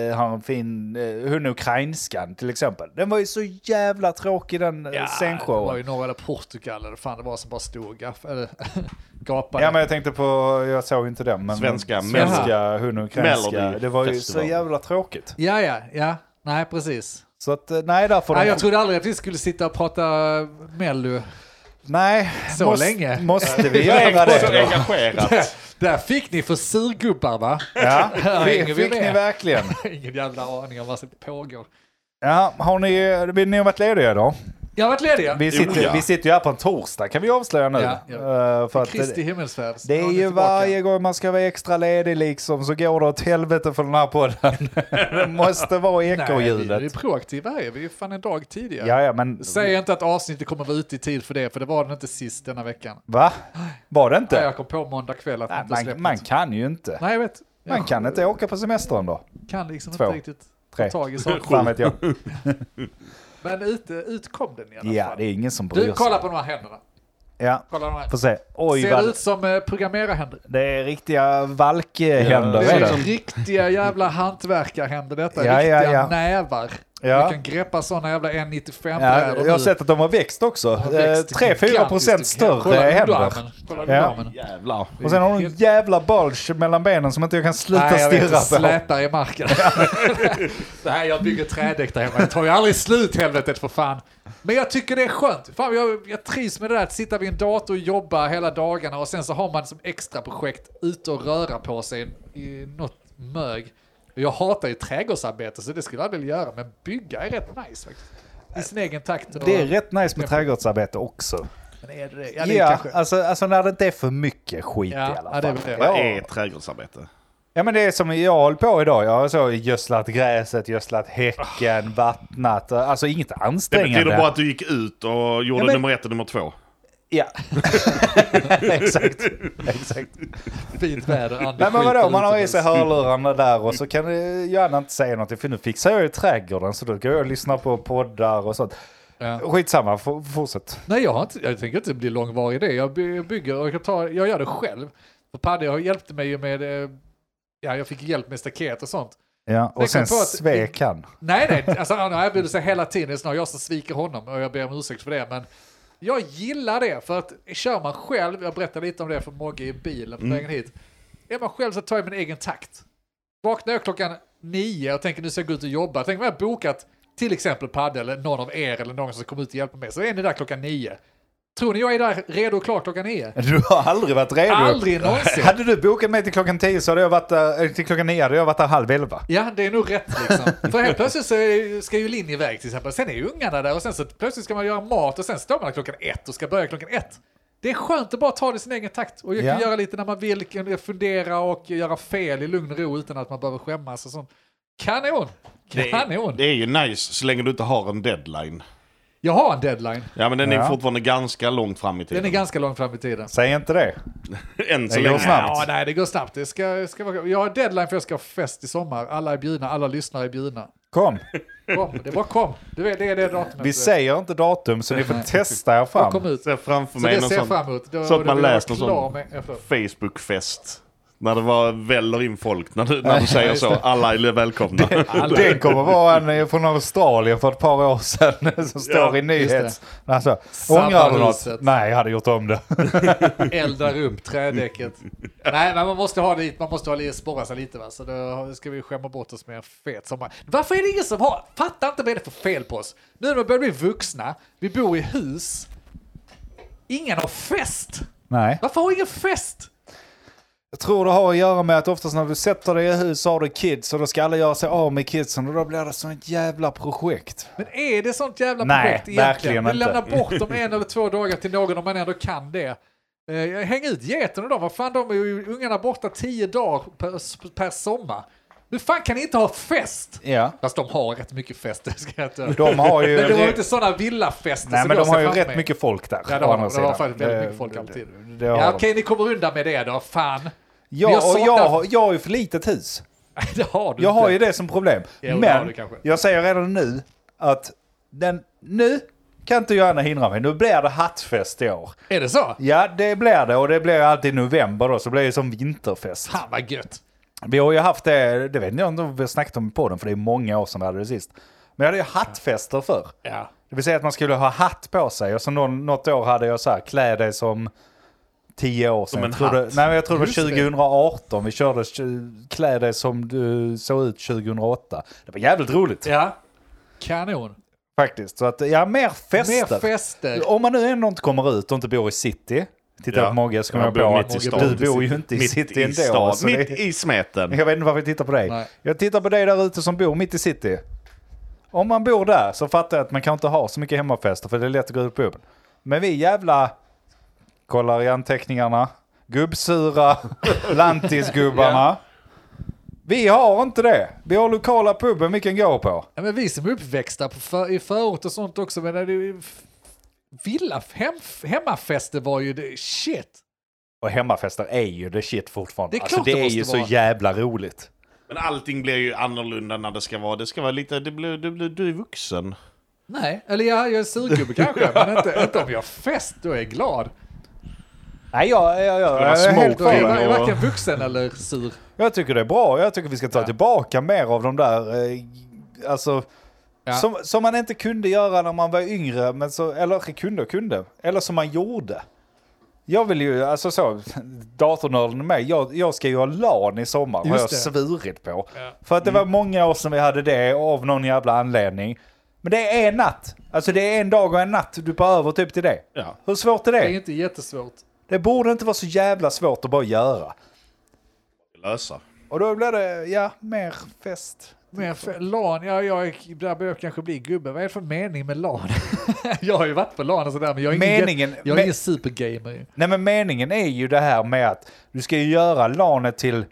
Speaker 2: eh, har en fin, eh, hon ukrainskan till exempel. Den var ju så jävla tråkig den eh, ja,
Speaker 1: det var ju
Speaker 2: scenshowen.
Speaker 1: några eller Portugal eller fan det var som bara stod och gaff, eller, gapade.
Speaker 2: Ja men jag tänkte på, jag såg inte den, men
Speaker 3: Svenska,
Speaker 2: svenska hon ukrainska.
Speaker 3: Melody
Speaker 2: Det var ju
Speaker 3: Festival.
Speaker 2: så jävla tråkigt.
Speaker 1: ja, ja, ja. Nej, precis.
Speaker 2: Så att, eh, nej där får
Speaker 1: Nej,
Speaker 2: de...
Speaker 1: jag trodde aldrig att vi skulle sitta och prata Mello.
Speaker 2: nej,
Speaker 1: Så länge.
Speaker 2: måste vi göra det
Speaker 3: Så
Speaker 2: då?
Speaker 3: engagerat.
Speaker 1: Där fick ni för surgubbar va?
Speaker 2: Ja,
Speaker 1: hänger vi
Speaker 2: fick ni
Speaker 1: med?
Speaker 2: verkligen.
Speaker 1: Ingen jävla aning om vad som pågår.
Speaker 2: Ja, har ni, vill ni ha varit lediga idag?
Speaker 1: Jag har varit ledig ja.
Speaker 2: Vi sitter,
Speaker 3: ja.
Speaker 2: vi sitter ju här på en torsdag kan vi avslöja nu.
Speaker 1: Ja, ja.
Speaker 2: Eh, för att
Speaker 1: Kristi
Speaker 2: det,
Speaker 1: himmelsfärd.
Speaker 2: det
Speaker 1: Nu
Speaker 2: är
Speaker 1: ni
Speaker 2: ju
Speaker 1: tillbaka.
Speaker 2: varje gång man ska vara extra ledig liksom så går det åt helvete för den här podden. det måste vara
Speaker 1: Nej, vi, vi är
Speaker 2: ekorrhjulet.
Speaker 1: proaktiva här. Vi är fan en dag tidigare.
Speaker 2: Ja, ja, men...
Speaker 1: Säg inte att avsnittet kommer vara ute i tid för det, för det var den inte sist denna veckan.
Speaker 2: Va? Var det
Speaker 1: Nej,
Speaker 2: inte?
Speaker 1: jag kom på måndag kväll att vi inte släppt.
Speaker 2: Man, man kan ju inte.
Speaker 1: Nej, jag vet. Jag
Speaker 2: Man kan inte åka på semestern då.
Speaker 1: kan liksom
Speaker 2: Två.
Speaker 1: inte riktigt
Speaker 2: Tre.
Speaker 1: ta tag i saker.
Speaker 2: Fan vet jag.
Speaker 1: Men ute, ut kom den i alla fall.
Speaker 2: Ja, det är ingen som bryr
Speaker 1: du,
Speaker 2: sig.
Speaker 1: kolla på de här händerna.
Speaker 2: Ja,
Speaker 1: Kolla de här.
Speaker 2: får se. Oj,
Speaker 1: Ser det
Speaker 2: vad...
Speaker 1: ut som eh, programmerarhänder?
Speaker 2: Det är riktiga valkhänder.
Speaker 3: Ja,
Speaker 1: Det
Speaker 2: är
Speaker 1: är
Speaker 2: det.
Speaker 1: riktiga jävla hantverkarhänder detta.
Speaker 2: Ja, ja,
Speaker 1: riktiga
Speaker 2: ja.
Speaker 1: nävar.
Speaker 2: Ja.
Speaker 1: Du kan greppa sådana jävla 1,95
Speaker 2: Ja,
Speaker 1: brädor
Speaker 2: jag har
Speaker 1: nu.
Speaker 2: sett att de har växt också.
Speaker 1: De har växt till gigantiskt.
Speaker 2: 3-4 procent större
Speaker 1: Kolla
Speaker 2: händer.
Speaker 1: underarmen. Kolla
Speaker 2: Ja.
Speaker 1: underarmen.
Speaker 3: Jävlar.
Speaker 2: Och sen har hon en jävla bulge mellan benen som inte jag kan sluta
Speaker 1: Nej, jag vet, det
Speaker 2: stirra på.
Speaker 1: släpar i marken. det här, jag bygger trädäck där hemma. Det tar ju aldrig slut helvetet för fan. Men jag tycker det är skönt. Fan, jag, jag trivs med det där att sitta vid en dator och jobba hela dagarna och sen så har man som extra projekt ute och röra på sig i något mög. Jag hatar ju trädgårdsarbete så det skulle jag aldrig vilja göra, men bygga är rätt nice faktiskt. I sin egen takt. Och,
Speaker 2: Det är rätt nice med trädgårdsarbete också.
Speaker 1: Men är det det?
Speaker 2: Ja,
Speaker 1: Ja, det är kanske.
Speaker 2: alltså, alltså när det inte är för mycket skit
Speaker 1: Ja,
Speaker 2: i alla fall.
Speaker 1: ja, det är väl det.
Speaker 3: Vad
Speaker 2: Ja.
Speaker 3: är trädgårdsarbete?
Speaker 2: Ja men det är som jag håller på idag. Jag har så gödslat gräset, gödslat häcken, vattnat. Alltså inget
Speaker 3: Ah. Det
Speaker 2: ansträngande.
Speaker 3: betyder bara att du gick ut och gjorde
Speaker 2: Ja, men-
Speaker 3: nummer ett och nummer två.
Speaker 2: Ja. Exakt. Exakt.
Speaker 1: Fint väder, Anders
Speaker 2: Nej men
Speaker 1: skiter
Speaker 2: vadå, man har i
Speaker 1: utomhus.
Speaker 2: sig hörlurarna där och så kan det- Johanna inte säga någonting. För nu fixar jag ju trädgården så då går jag och lyssnar på poddar och sånt.
Speaker 1: Ja.
Speaker 2: Skitsamma, f- fortsätt.
Speaker 1: Nej, jag, har inte, jag tänker inte bli långvarig i det. Jag by- jag bygger och jag, tar, jag gör det själv. För Padde jag hjälpte mig ju med, eh, ja jag fick hjälp med staket och sånt.
Speaker 2: Ja, och
Speaker 1: Jag
Speaker 2: sen
Speaker 1: kom på att-
Speaker 2: svek han.
Speaker 1: Nej, nej, alltså han erbjuder sig hela tiden. Det är snarare jag som sviker honom och jag ber om ursäkt för det. Men jag gillar det för att kör man själv, jag berättade lite om det för Mogge i bilen på vägen hit. Är man själv så tar jag min egen takt. Vaknar jag klockan nio och tänker nu ska jag gå ut och jobba. Tänk om jag har bokat till exempel Padde eller någon av er eller någon som kommer ut och hjälper mig. Så är ni där klockan nio. Tror ni jag är där redo och klar klockan nio?
Speaker 2: Du har aldrig varit redo.
Speaker 1: Aldrig någonsin.
Speaker 2: Hade du bokat mig till klockan 10 så hade jag varit där, eh, till klockan 9 hade jag varit där halv 11.
Speaker 1: Ja, det är nog rätt liksom. För helt plötsligt så är- ska ju Linn iväg till exempel. Sen är ju ungarna där och sen så plötsligt ska man göra mat och sen står man där klockan ett och ska börja klockan ett. Det är skönt att bara ta det i sin egen takt och
Speaker 2: Ja.
Speaker 1: göra lite när man vill, kan fundera och göra fel i lugn och ro utan att man behöver skämmas och sånt. Kanon! Kanon!
Speaker 3: Det är ju nice så länge du inte har en deadline.
Speaker 1: Jag har en deadline.
Speaker 3: Ja men den är
Speaker 2: Ja.
Speaker 3: fortfarande ganska långt fram i tiden.
Speaker 1: Den är ganska långt fram i tiden.
Speaker 2: Säg inte det.
Speaker 3: Än så
Speaker 2: Den går
Speaker 3: länge.
Speaker 2: snabbt.
Speaker 1: Ja, nej, det går snabbt. Det ska, ska vara... Jag har deadline för jag ska ha fest i sommar. Alla är bjudna, alla lyssnare är bjudna.
Speaker 2: Kom,
Speaker 1: Kom, det bara kom. Du vet, det är det datumet.
Speaker 2: vi säger inte datum så ni får testa er
Speaker 1: Och kom
Speaker 2: fram.
Speaker 1: ut.
Speaker 3: Ser framför
Speaker 1: Så
Speaker 3: mig
Speaker 1: det
Speaker 3: någon
Speaker 1: ser jag
Speaker 3: sån
Speaker 1: fram emot. Då,
Speaker 3: så att
Speaker 1: då
Speaker 3: man
Speaker 1: blir jag
Speaker 3: läser någon
Speaker 1: klar
Speaker 3: sån-
Speaker 1: Med, ja, förlåt.
Speaker 3: Facebook-fest. När det var väller in folk. När du, när du säger så. Alla är välkomna.
Speaker 2: Den kommer vara en eh, från Australien för ett par år sedan som står i nyhets... Alltså,
Speaker 1: Sabbar
Speaker 2: ångrar du något?
Speaker 1: huset.
Speaker 2: Nej, jag hade gjort om det.
Speaker 1: Eldar upp trädäcket. Nej, men man måste ha lite, man måste ha lite, sporra sig lite va. Så då ska vi skämma bort oss med en fet sommar. Varför är det ingen som har, fattar inte vad det är för fel på oss. Nu när vi börjar bli vuxna, vi bor i hus. Ingen har fest.
Speaker 2: Nej.
Speaker 1: Varför har ingen fest?
Speaker 2: Jag tror det har att göra med att oftast när du sätter dig i hus så har du kids och då ska alla göra sig av med kidsen och då blir det sånt jävla projekt.
Speaker 1: Men är det sånt jävla
Speaker 2: Nej,
Speaker 1: projekt egentligen?
Speaker 2: verkligen
Speaker 1: Vi
Speaker 2: inte.
Speaker 1: lämnar bort dem en eller två dagar till någon om man ändå kan det. Eh, Häng ut geten och dem, vad fan de är ju ungarna borta tio dagar per, per sommar. Nu fan kan ni inte ha fest?
Speaker 2: Ja.
Speaker 1: Fast de har rätt mycket fest, det ska jag inte...
Speaker 2: De har ju...
Speaker 1: Men det var ju inte sådana villafester
Speaker 2: Nej
Speaker 1: som
Speaker 2: men
Speaker 1: jag
Speaker 2: de har
Speaker 1: ser
Speaker 2: ju
Speaker 1: fram
Speaker 2: rätt
Speaker 1: med.
Speaker 2: mycket folk där.
Speaker 1: Ja, det
Speaker 2: å
Speaker 1: har
Speaker 2: andra
Speaker 1: de. De har
Speaker 2: sidan.
Speaker 1: faktiskt väldigt
Speaker 2: Det-
Speaker 1: mycket folk
Speaker 2: det-
Speaker 1: alltid. Mm.
Speaker 2: det har
Speaker 1: Ja,
Speaker 2: de.
Speaker 1: okej, ni kommer undan med det då, fan. Men jag
Speaker 2: Ja, och
Speaker 1: saknar-
Speaker 2: jag, har- jag har ju för lite tis.
Speaker 1: Det har du
Speaker 2: Jag har
Speaker 1: inte.
Speaker 2: ju det som problem.
Speaker 1: Ja, det har
Speaker 2: Men
Speaker 1: du kanske.
Speaker 2: jag säger redan nu att den, nu kan inte Johanna hindra mig. Nu blir det hattfest i år.
Speaker 1: Är det så?
Speaker 2: Ja, det blir det och det blir alltid i november då, så blir det som vinterfest.
Speaker 1: Fan vad gött.
Speaker 2: Vi har ju haft det, det vet jag inte om vi har snackat om på den för det är många år sedan vi hade det sist. Men jag hade ju hattfester förr.
Speaker 1: Ja.
Speaker 2: Det vill säga att man skulle ha hatt på sig. Och så någon, något år hade jag så här, klä dig som tio år sedan.
Speaker 3: Som en
Speaker 2: jag tror det,
Speaker 3: hatt.
Speaker 2: nej, men jag tror det
Speaker 1: Just det.
Speaker 2: var 2018 vi körde tj- klä dig som du såg ut 2008. Det var jävligt roligt
Speaker 1: Ja. Kanon.
Speaker 2: faktiskt. Så att, ja, mer fester.
Speaker 1: Mer fester.
Speaker 2: Om man nu ändå inte kommer ut och inte bor i city. Tittar
Speaker 3: Ja.
Speaker 2: på Mogge så kommer
Speaker 3: Jag
Speaker 2: jag,
Speaker 3: bor
Speaker 2: på
Speaker 3: mitt
Speaker 2: att
Speaker 3: i
Speaker 2: du
Speaker 3: stan.
Speaker 2: bor ju inte i
Speaker 3: Mitt
Speaker 2: city
Speaker 3: i
Speaker 2: ändå. alltså.
Speaker 3: stan.
Speaker 2: så
Speaker 3: Mitt
Speaker 2: det-
Speaker 3: i smeten.
Speaker 2: jag vet inte varför jag tittar på dig.
Speaker 1: Nej.
Speaker 2: Jag tittar på dig där ute som bor mitt i city. Om man bor där så fattar jag att man kan inte ha så mycket hemmafester för det är lätt att gå ut på puben. Men vi jävla... Kollar i anteckningarna. Gubbsura lantisgubbarna. Vi har inte det. Vi har lokala puben vi kan gå på.
Speaker 1: Ja, men vi som är uppväxta på för, i förort och sånt också, men det är ju... f- Villa, hem, hemmafester var ju det, shit.
Speaker 2: Och hemmafester är ju det shit fortfarande.
Speaker 1: Det är
Speaker 2: alltså,
Speaker 1: klart
Speaker 2: det,
Speaker 1: det
Speaker 2: är
Speaker 1: måste
Speaker 2: ju
Speaker 1: vara.
Speaker 2: så jävla roligt.
Speaker 3: Men allting blir ju annorlunda när det ska vara. Det ska vara lite, det blir, det blir, du är vuxen.
Speaker 1: Nej, eller ja, jag är surgubbe kanske, men inte, inte om jag har fest, då är jag glad.
Speaker 2: Nej, jag, jag, jag,
Speaker 3: vara
Speaker 2: jag är helt
Speaker 1: Då är
Speaker 2: för
Speaker 3: smoking.
Speaker 2: det.
Speaker 1: jag
Speaker 3: och-
Speaker 1: varken vuxen eller sur.
Speaker 2: Jag tycker det är bra. Jag tycker vi ska ta tillbaka mer av de där... Eh, alltså...
Speaker 1: Ja.
Speaker 2: Som, som man inte kunde göra när man var yngre, men så, eller kunde och kunde. Eller som man gjorde. Jag vill ju, alltså så, datornörden är med, jag, jag ska ju ha LAN i sommar, har
Speaker 1: Just
Speaker 2: jag
Speaker 1: det.
Speaker 2: svurit på.
Speaker 1: Ja. Mm.
Speaker 2: För att det var många år sedan vi hade det, av någon jävla anledning. Men det är en natt, alltså det är en dag och en natt du behöver typ till det.
Speaker 3: Ja.
Speaker 2: Hur svårt är
Speaker 1: Det
Speaker 2: det?
Speaker 1: är inte jättesvårt.
Speaker 2: Det borde inte vara så jävla svårt att bara göra.
Speaker 3: Lösa.
Speaker 2: Och då blir det, ja, mer fest.
Speaker 1: Men för, LAN, ja, jag, där börjar jag kanske bli gubbe. Vad är det för mening med LAN? jag har ju varit på LAN och sådär, men jag är
Speaker 2: Meningen-
Speaker 1: ingen, jag är
Speaker 2: men-
Speaker 1: ingen supergamer. ju.
Speaker 2: Nej men meningen är ju det här med att du ska ju göra LANet till...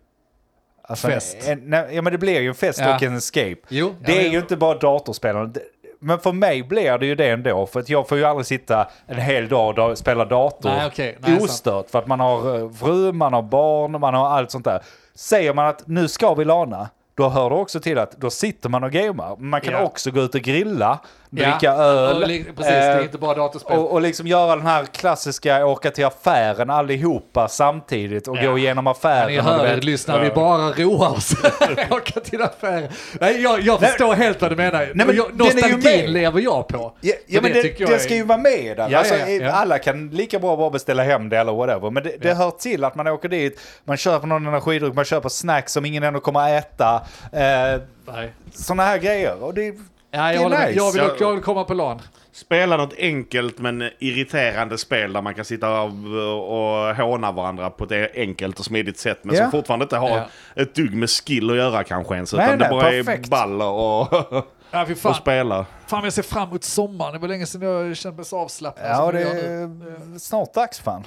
Speaker 2: Alltså,
Speaker 1: Fest.
Speaker 2: En, en, nej, ja men det blir ju en fest
Speaker 1: Ja.
Speaker 2: och en escape.
Speaker 1: Jo,
Speaker 2: det
Speaker 1: ja,
Speaker 2: är
Speaker 1: men-
Speaker 2: ju inte bara datorspelande. Det- Men för mig blir det ju det ändå. För att jag får ju aldrig sitta en hel dag och da- spela dator
Speaker 1: Nej, okej. Nej, sant.
Speaker 2: ostört. För att man har eh, fru, man har barn, och man har allt sånt där. Säger man att nu ska vi LANa. Då hör det också till att då sitter man och gamer. Man kan
Speaker 1: Ja.
Speaker 2: också gå ut och grilla, dricka
Speaker 1: Ja,
Speaker 2: öl.
Speaker 1: och li- precis, det är
Speaker 2: eh,
Speaker 1: inte bara datorspel.
Speaker 2: och, och liksom göra den här klassiska åka till affären allihopa samtidigt och gå igenom affären.
Speaker 1: Ni
Speaker 2: och du
Speaker 1: hör er,
Speaker 2: vet.
Speaker 1: lyssnar, vi bara roar oss. Åka till affären. Nej, jag, jag förstår helt vad du menar.
Speaker 2: Nej, men
Speaker 1: jag,
Speaker 2: den är ju med.
Speaker 1: nostalgin lever jag på.
Speaker 2: Ja,
Speaker 1: För
Speaker 2: ja men det, det,
Speaker 1: tycker jag är-
Speaker 2: ska ju vara med där.
Speaker 1: Ja,
Speaker 2: alltså,
Speaker 1: ja, ja.
Speaker 2: Alla kan lika bra bara beställa hem det eller whatever. Men det, det hör till att man åker dit, man köper någon energidryck, man köper snacks som ingen ändå kommer att äta. Eh,
Speaker 1: Nej.
Speaker 2: Sådana här grejer. Och det,
Speaker 1: Ja,
Speaker 2: det
Speaker 1: jag,
Speaker 2: är
Speaker 1: håller med.
Speaker 2: nice.
Speaker 1: jag, vill,
Speaker 3: Ja.
Speaker 1: dock- jag vill komma på LAN.
Speaker 3: Spela något enkelt men irriterande spel där man kan sitta och, och håna varandra på ett enkelt och smidigt sätt. Men
Speaker 2: Ja.
Speaker 3: som fortfarande inte har
Speaker 1: Ja.
Speaker 3: ett dugg med skill att göra kanske ens.
Speaker 2: Nej,
Speaker 3: utan
Speaker 2: nej,
Speaker 3: det bara
Speaker 2: perfekt.
Speaker 3: är ball och,
Speaker 1: Ja, fy
Speaker 3: och
Speaker 1: fan.
Speaker 3: spela.
Speaker 1: fan, jag ser fram emot sommaren. Det var länge sedan jag kände mig så avslappnad. som
Speaker 2: Ja,
Speaker 1: jag
Speaker 2: det
Speaker 1: gör nu.
Speaker 2: är snart dags fan.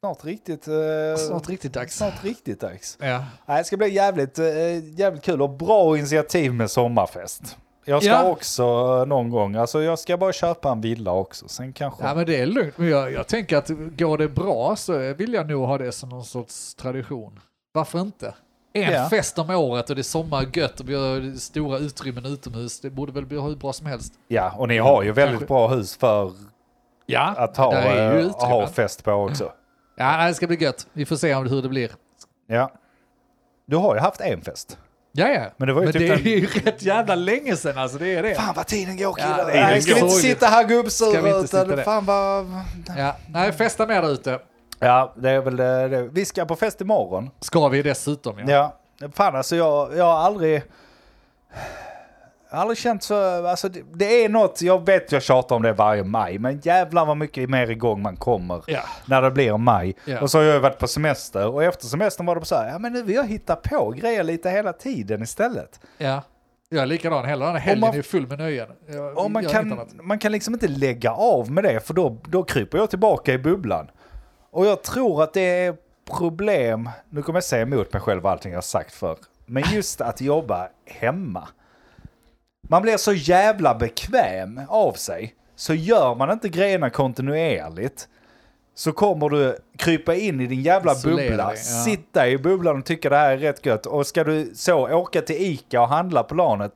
Speaker 2: Snart riktigt... eh,
Speaker 1: Snart riktigt dags.
Speaker 2: Snart riktigt dags.
Speaker 1: Ja.
Speaker 2: Nej, det ska bli jävligt, eh, jävligt kul och bra initiativ med sommarfest. Jag ska
Speaker 1: Ja.
Speaker 2: också eh, någon gång, alltså jag ska bara köpa en villa också. Sen kanske...
Speaker 1: ja, men det är lugnt. Men jag, jag tänker att går det bra så vill jag nog ha det som någon sorts tradition. Varför inte? En
Speaker 2: Ja.
Speaker 1: fest om året och det är sommar och gött och vi har stora utrymmen utomhus. Det borde väl bli hur bra som helst.
Speaker 2: Ja, och ni har ju väldigt
Speaker 1: Mm. Kanske.
Speaker 2: bra hus för
Speaker 1: Ja,
Speaker 2: att ha,
Speaker 1: där är ju Mm.
Speaker 2: eh, ha
Speaker 1: utrymmen.
Speaker 2: fest på också.
Speaker 1: Ja, nej, det ska bli gött. Vi får se om, hur det blir.
Speaker 2: Ja. Du har ju haft en fest.
Speaker 1: Ja, ja.
Speaker 2: Men det var ju typ
Speaker 1: är ju rätt jävla länge sedan alltså, det är det.
Speaker 2: Fan vad tiden går
Speaker 1: killar.
Speaker 2: killar.
Speaker 1: tiden
Speaker 2: Nej, ska vi
Speaker 1: går.
Speaker 2: inte sitta här gubbsura
Speaker 1: Ska vi inte sitta
Speaker 2: utan
Speaker 1: där.
Speaker 2: fan vad...
Speaker 1: Ja. Nej, festa med där ute.
Speaker 2: Ja, det är väl eh, det. Vi ska på fest imorgon.
Speaker 1: Ska vi dessutom ja.
Speaker 2: Ja, fan alltså jag, jag har aldrig... Jag har aldrig känt så... Alltså det, det är något, jag vet jag tjatar om det varje maj, men jävlar vad mycket mer igång man kommer
Speaker 1: Ja.
Speaker 2: när det blir maj.
Speaker 1: Ja.
Speaker 2: Och så har jag ju varit på semester och efter semestern var det på så här, ja men nu vill jag hitta på grejer lite hela tiden istället.
Speaker 1: ja. Jag är likadan heller. Den här helgen
Speaker 2: man-
Speaker 1: är ju full med nöjen. Jag,
Speaker 2: Och man
Speaker 1: jag
Speaker 2: kan,
Speaker 1: hittar något.
Speaker 2: man kan liksom inte lägga av med det för då, då kryper jag tillbaka i bubblan. Och jag tror att det är problem, nu kommer jag säga emot mig själv och allting jag har sagt för men just att jobba hemma. Man blir så jävla bekväm av sig, så gör man inte grejerna kontinuerligt så kommer du krypa in i din jävla
Speaker 1: Isolera
Speaker 2: bubbla,
Speaker 1: dig, ja.
Speaker 2: sitta i bubblan och tycka det här är rätt gött. Och ska du så åka till Ica och handla på LANet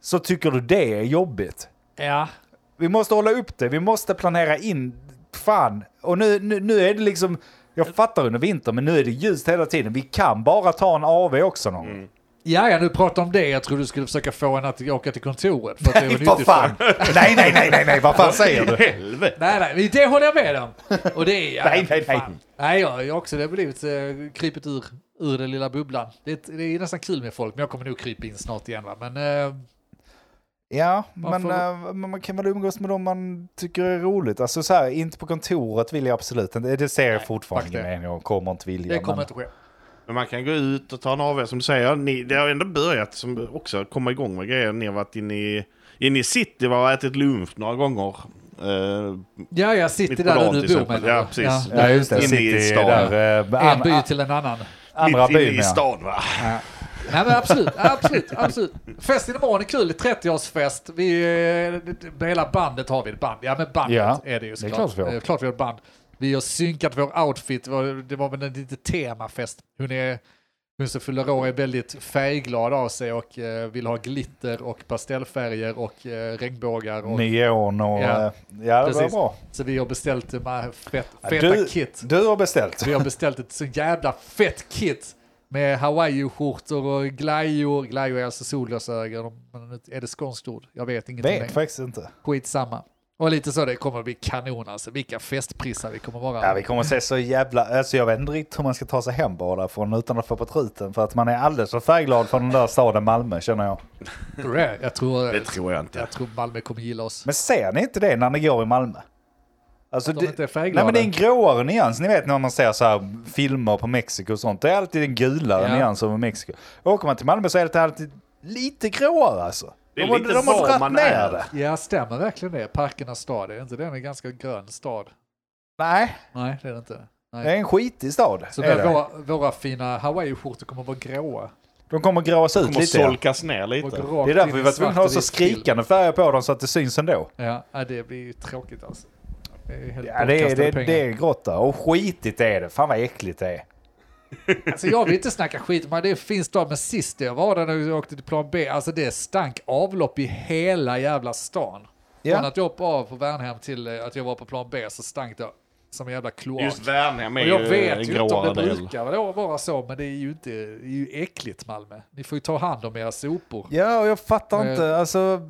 Speaker 2: så tycker du det är jobbigt.
Speaker 1: Ja.
Speaker 2: Vi måste hålla upp det, vi måste planera in. Fan, och nu, nu, nu är det liksom... Jag fattar under vintern, men nu är det ljust hela tiden. Vi kan bara ta en AV också någon
Speaker 3: Mm.
Speaker 2: gång.
Speaker 1: ja, ja, nu pratar om det. Jag trodde du skulle försöka få en att åka till kontoret. För att det var
Speaker 2: Nej, vad
Speaker 1: nyttigt för-
Speaker 2: fan! Nej, nej, nej, nej, nej, vad fan säger du?
Speaker 3: Helvete!
Speaker 1: Nej, nej, det håller jag med om. Och det är, ja,
Speaker 2: Nej, nej, nej.
Speaker 1: fan. Nej, jag, jag också, det har blivit eh, krypit ur, ur den lilla bubblan. Det, det är nästan kul med folk, men jag kommer nog krypa in snart igen. Va? Men eh,
Speaker 2: Ja, men
Speaker 1: får-
Speaker 2: eh, men man kan väl umgås med dem man tycker är roligt. Alltså så här, inte på kontoret vill jag absolut inte. Det ser jag fortfarande
Speaker 1: fuck det.
Speaker 2: med jag kommer inte vilja.
Speaker 1: det kommer
Speaker 2: men-
Speaker 1: inte ske.
Speaker 3: Men man kan gå ut och ta en AW som du säger. Ni, det har ändå börjat som också komma igång med grejer. Ni har varit inne i, inne i city och ätit lunch några gånger. Eh,
Speaker 1: Ja, jag
Speaker 3: Mitt på
Speaker 1: sitter där
Speaker 3: dagen
Speaker 1: du
Speaker 3: till
Speaker 1: bor
Speaker 3: exempel.
Speaker 1: med.
Speaker 3: Ja, precis.
Speaker 1: Ja.
Speaker 2: Ja, just det.
Speaker 3: Inne i
Speaker 2: City
Speaker 3: stan.
Speaker 2: där. eh,
Speaker 1: En
Speaker 2: an-
Speaker 1: by
Speaker 2: an-
Speaker 1: till en annan.
Speaker 2: andra
Speaker 3: mitt inne
Speaker 2: byn,
Speaker 3: i
Speaker 2: ja.
Speaker 3: stan va?
Speaker 1: Nej men absolut, absolut, absolut. Festen imorgon är kul, det är 30-årsfest. Vi, eh, det- det- hela bandet har vi ett band. Ja men bandet
Speaker 2: Ja,
Speaker 1: är det ju
Speaker 2: det är
Speaker 1: såklart.
Speaker 2: klart vi har.
Speaker 1: Eh, klart vi har ett band. Vi har synkat vår outfit, Det var- det var väl en liten temafest. Hon, är, hon som fyller år är väldigt färgglad av sig och eh, vill ha glitter och pastellfärger och eh, regnbågar. Och,
Speaker 2: Neon och...
Speaker 1: Ja,
Speaker 2: eh, Ja, det var
Speaker 1: precis.
Speaker 2: bra.
Speaker 1: så vi har beställt de här fet,
Speaker 2: Ja,
Speaker 1: feta
Speaker 2: du,
Speaker 1: kit.
Speaker 2: du har beställt.
Speaker 1: Vi har beställt ett så jävla fett kit med hawaiiskjortor och glajjor. Glajjor är alltså solglasögon. om man- Är det skånskt ord? Jag vet ingenting.
Speaker 2: Vet
Speaker 1: längre.
Speaker 2: faktiskt inte.
Speaker 1: Skitsamma. Och lite så, det kommer att bli kanon alltså. Vilka festprissar vi kommer vara.
Speaker 2: Ja, vi kommer att se så jävla... Alltså jag vet inte riktigt hur man ska ta sig hem bara därifrån utan att få på truten. För att man är alldeles för färgglad från den där staden Malmö känner jag.
Speaker 1: Tror du det? Jag tror,
Speaker 3: Det tror jag inte.
Speaker 1: jag tror Malmö kommer gilla oss.
Speaker 2: Men ser ni inte det när ni går i Malmö? Alltså
Speaker 1: Att de inte är färgglada.
Speaker 2: nej men det är en gråare nyans. Ni vet när man ser så här filmer på Mexiko och sånt. Det är alltid en gulare
Speaker 1: Ja.
Speaker 2: nyans över Mexiko. Åker man till Malmö så är det alltid lite gråare alltså.
Speaker 3: Det är
Speaker 2: de har,
Speaker 3: lite
Speaker 2: de har
Speaker 3: var
Speaker 2: dragit
Speaker 3: man
Speaker 2: ner
Speaker 3: är.
Speaker 2: det.
Speaker 1: Ja, stämmer verkligen det? Parkernas stad, är inte den en ganska grön stad?
Speaker 2: Nej,
Speaker 1: Nej, det är det inte.
Speaker 2: det är en skitig stad.
Speaker 1: Så
Speaker 2: är
Speaker 1: där
Speaker 2: det.
Speaker 1: våra, våra fina Hawaii-skjortor kommer att vara gråa.
Speaker 2: De kommer gråas ut
Speaker 3: Kommer
Speaker 2: lite. ja.
Speaker 3: solkas ner
Speaker 1: Och
Speaker 3: lite.
Speaker 1: rakt
Speaker 2: Det är därför
Speaker 1: in
Speaker 2: vi
Speaker 1: i
Speaker 2: var tvungna att ha så
Speaker 1: svartvit film.
Speaker 2: skrikande färger på dem så att det syns ändå.
Speaker 1: Ja, ja, det blir ju tråkigt alltså. Det är helt
Speaker 2: Ja, det, är, det,
Speaker 1: bortkastade
Speaker 2: det
Speaker 1: pengar.
Speaker 2: är grått där. Och skitigt är det. Fan vad äckligt det är.
Speaker 1: Alltså jag vill inte snacka skit, men det finns då, men sist jag var där när jag åkte till plan B, alltså det stank avlopp i hela jävla stan.
Speaker 2: Ja.
Speaker 1: Från att jag hoppade av på Värnhem till eh, att jag var på plan B så stank det som en jävla kloak.
Speaker 3: Just Värnhem är
Speaker 1: Och jag
Speaker 3: ju
Speaker 1: vet
Speaker 3: en
Speaker 1: ju inte om det
Speaker 3: gråare del.
Speaker 1: brukar då vara så, men det är ju, inte, det är ju äckligt Malmö. Ni får ju ta hand om era sopor.
Speaker 2: Ja, och jag fattar
Speaker 1: Men-
Speaker 2: inte. Alltså,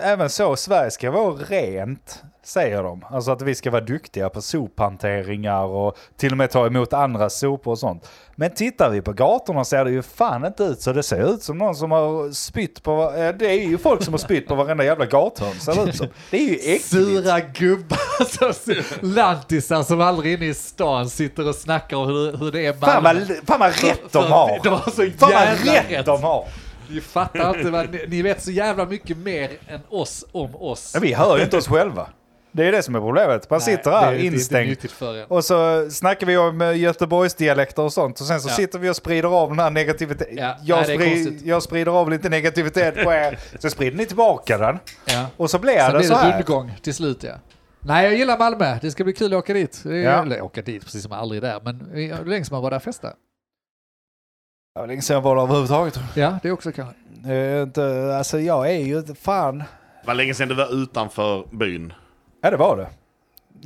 Speaker 2: även så, Sverige ska vara rent, säger de. Alltså att vi ska vara duktiga på sophanteringar och till och med ta emot andra sopor och sånt. Men tittar vi på gatorna ser det ju fan inte ut så. Det ser ut som någon som har spytt på... eh, Det är ju folk som har spytt på varenda jävla gathörn, ser det ut som. Det är ju äckligt.
Speaker 1: Sura gubbar, som- lantisar som aldrig inne i stan sitter och snackar om hur, hur det är i Malmö.
Speaker 2: Fan vad, fan vad rätt de
Speaker 1: Fan,
Speaker 2: har!
Speaker 1: de har så
Speaker 2: fan vad
Speaker 1: jävla
Speaker 2: rätt,
Speaker 1: rätt.
Speaker 2: de har!
Speaker 1: Ni fattar inte vad ni, ni vet så jävla mycket mer än oss om oss.
Speaker 2: Ja, vi hör ju inte oss själva. Det är det som är problemet. Man sitter
Speaker 1: Nej,
Speaker 2: här
Speaker 1: det är inte-
Speaker 2: instängd.
Speaker 1: inte nyttigt för er.
Speaker 2: Och så snackar vi om eh, Göteborgsdialekter och sånt och sen så
Speaker 1: Ja.
Speaker 2: sitter vi och sprider av den här negativiteten.
Speaker 1: Ja,
Speaker 2: Jag,
Speaker 1: nej, det är
Speaker 2: spri-
Speaker 1: konstigt.
Speaker 2: jag sprider av lite negativitet på er, så sprider ni tillbaka den.
Speaker 1: Ja.
Speaker 2: Och så blir
Speaker 1: Sen
Speaker 2: det
Speaker 1: blir
Speaker 2: så
Speaker 1: det
Speaker 2: här.
Speaker 1: rundgång till slut ja. Nej, jag gillar Malmö. Det ska bli kul att åka dit. Det är,
Speaker 2: Ja.
Speaker 1: Eller åka dit, precis som jag aldrig är där. Men eh, länge som man var där och festa.
Speaker 2: Det var länge sedan jag var där överhuvudtaget.
Speaker 1: Ja, det är också kanske.
Speaker 2: Det är inte- Alltså jag är ju inte fan.
Speaker 3: Det var länge sedan du var utanför byn.
Speaker 2: Ja det var det.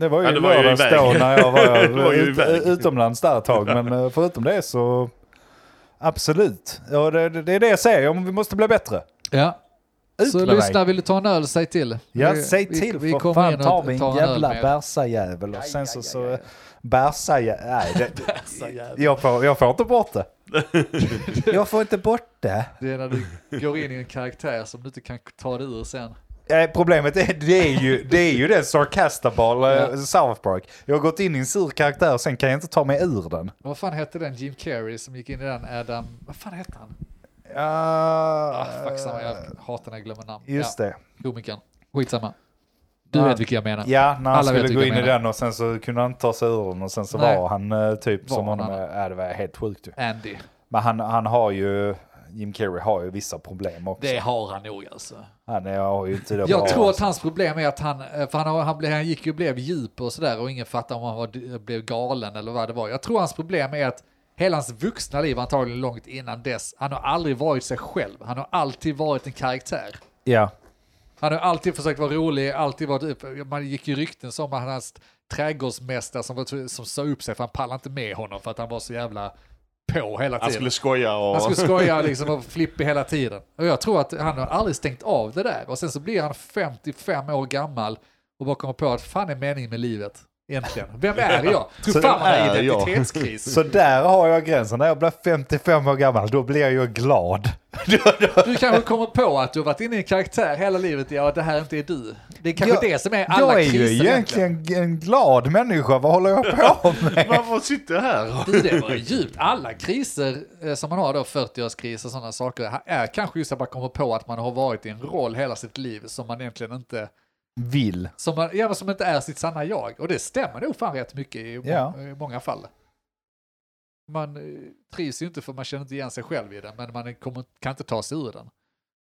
Speaker 2: Det var ju
Speaker 3: Ja,
Speaker 2: ja,
Speaker 3: det var ju
Speaker 2: lördags
Speaker 3: iväg.
Speaker 2: då när jag var,
Speaker 3: Det var ju
Speaker 2: ut,
Speaker 3: iväg.
Speaker 2: utomlands där ett tag. Men eh, förutom det så absolut. Ja, det, det det är det jag säger, om vi måste bli bättre.
Speaker 1: Ja.
Speaker 2: Ut
Speaker 1: Så
Speaker 2: med dig.
Speaker 1: lyssna, vill du ta en öl, säg till.
Speaker 2: Ja,
Speaker 1: Vi-
Speaker 2: säg
Speaker 1: vi-
Speaker 2: till
Speaker 1: vi
Speaker 2: för
Speaker 1: kommer
Speaker 2: fan
Speaker 1: in och
Speaker 2: tar vi
Speaker 1: tar
Speaker 2: en
Speaker 1: en öl
Speaker 2: jävla
Speaker 1: med er.
Speaker 2: bärsajävel och sen så... så bärsajävel... Nej, det,
Speaker 1: Bärsajävel.
Speaker 2: jag, får, jag får inte bort det. jag får inte bort det.
Speaker 1: Det är när du går in i en karaktär som du inte kan ta dig ur sen.
Speaker 2: Eh, Problemet är, det är ju, det är ju den sarkastabal eh,
Speaker 1: Ja.
Speaker 2: South Park. Jag har gått in i en sur karaktär och sen kan jag inte ta mig ur den.
Speaker 1: Vad fan hette den Jim Carrey som gick in i den Adam... Vad fan hette han?
Speaker 2: Uh,
Speaker 1: Ah, fuck samma, jag hatar när jag glömmer namn.
Speaker 2: Just
Speaker 1: ja.
Speaker 2: det.
Speaker 1: Komikern. Skitsamma. Du
Speaker 2: Ja.
Speaker 1: vet vilka jag menar.
Speaker 2: Ja, när han
Speaker 1: Alla vet
Speaker 2: skulle gå
Speaker 1: vilka
Speaker 2: in
Speaker 1: jag
Speaker 2: i
Speaker 1: menar.
Speaker 2: den och sen så kunde han inte ta sig ur den och sen så
Speaker 1: Nej.
Speaker 2: var han eh, typ
Speaker 1: Var
Speaker 2: som
Speaker 1: han
Speaker 2: honom.
Speaker 1: annan.
Speaker 2: Ja, det var helt sjukt ju.
Speaker 1: Andy.
Speaker 2: Men han, han har ju, Jim Carrey har ju vissa problem också.
Speaker 1: Det har han nog alltså.
Speaker 2: Han är, har ju inte det bra.
Speaker 1: Jag tror att hans problem är att han, eh, för han, har- han, blev, han gick ju och blev djup och sådär och ingen fattar om han var, blev galen eller vad det var. Jag tror hans problem är att hela hans vuxna liv, antagligen långt innan dess, han har aldrig varit sig själv. Han har alltid varit en karaktär.
Speaker 2: Ja.
Speaker 1: Han har alltid försökt vara rolig, alltid varit upp. Man gick ju rykten som att hans trädgårdsmästare som, var, som sa upp sig för han pallade inte med honom för att han var så jävla på hela tiden.
Speaker 3: Han skulle skoja och...
Speaker 1: Han skulle skoja liksom och flippig hela tiden. Och jag tror att han har aldrig stängt av det där. Och sen så blir han 55 år gammal och bara kommer på att fan är meningen med livet egentligen? Vem är jag? Tror
Speaker 2: Så
Speaker 1: fan man har
Speaker 3: är jag.
Speaker 1: identitetskris.
Speaker 2: Så där har jag gränsen. När jag blir 55 år gammal, då blir jag glad.
Speaker 1: Du kanske kommer på att du har varit inne i en karaktär hela livet, ja det här inte är du. Det är kanske
Speaker 2: Jag-
Speaker 1: det som är alla
Speaker 2: Jag är ju
Speaker 1: kriser
Speaker 2: egentligen en glad människa. Vad håller jag på med?
Speaker 3: Varför sitter jag här? och-
Speaker 1: Du, det var ju djupt. Alla kriser eh, som man har då, 40-årskris och sådana saker, ha- är kanske just att man kommer på att man har varit i en roll hela sitt liv som man egentligen inte
Speaker 2: Vill.
Speaker 1: som, man, ja, men som inte är sitt sanna jag. Och det stämmer nog fan rätt mycket i, må-
Speaker 2: Ja.
Speaker 1: i många fall. Man eh, trivs ju inte för man känner inte igen sig själv i den, men man kommer, kan inte ta sig ur den.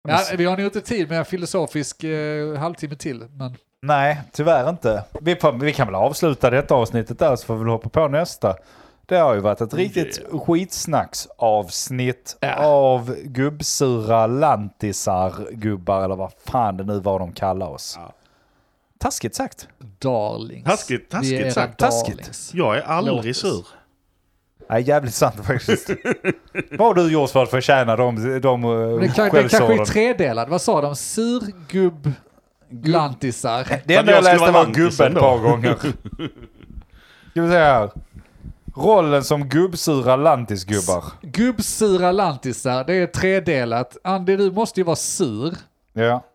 Speaker 1: Ja, vi har nog inte tid med en filosofisk eh, halvtimme till, men
Speaker 2: Nej, tyvärr inte. Vi, får, vi kan väl avsluta detta avsnittet där så får vi väl hoppa på nästa. Det har ju varit ett riktigt skitsnacksavsnitt
Speaker 1: Ja.
Speaker 2: av gubbsura lantisar, gubbar eller vad fan det nu var de kallar oss.
Speaker 3: Ja.
Speaker 2: Taskigt sagt.
Speaker 1: darlings.
Speaker 3: Taskigt, taskigt
Speaker 1: Vi är era
Speaker 3: sagt.
Speaker 2: Taskigt.
Speaker 1: darlings.
Speaker 3: Jag är
Speaker 1: Låt
Speaker 3: aldrig
Speaker 1: oss.
Speaker 3: sur.
Speaker 2: Nej, jävligt sant faktiskt. Vad har du gjort för att förtjäna de, de
Speaker 1: Men Det,
Speaker 2: eh,
Speaker 1: kan, det kanske är
Speaker 2: skällsorden?
Speaker 1: tredelad. Vad sa de? Sur, gubb, lantisar.
Speaker 2: Det enda
Speaker 3: Att jag
Speaker 2: jag läste
Speaker 3: skulle
Speaker 2: var
Speaker 3: vara lantisen
Speaker 2: gubben ett
Speaker 3: då.
Speaker 2: par gånger. Ska vi se här. Rollen som gubbsura lantisgubbar.
Speaker 1: Gubbsura lantisar, det är tredelat. Andy, du måste ju vara sur.
Speaker 2: Ja.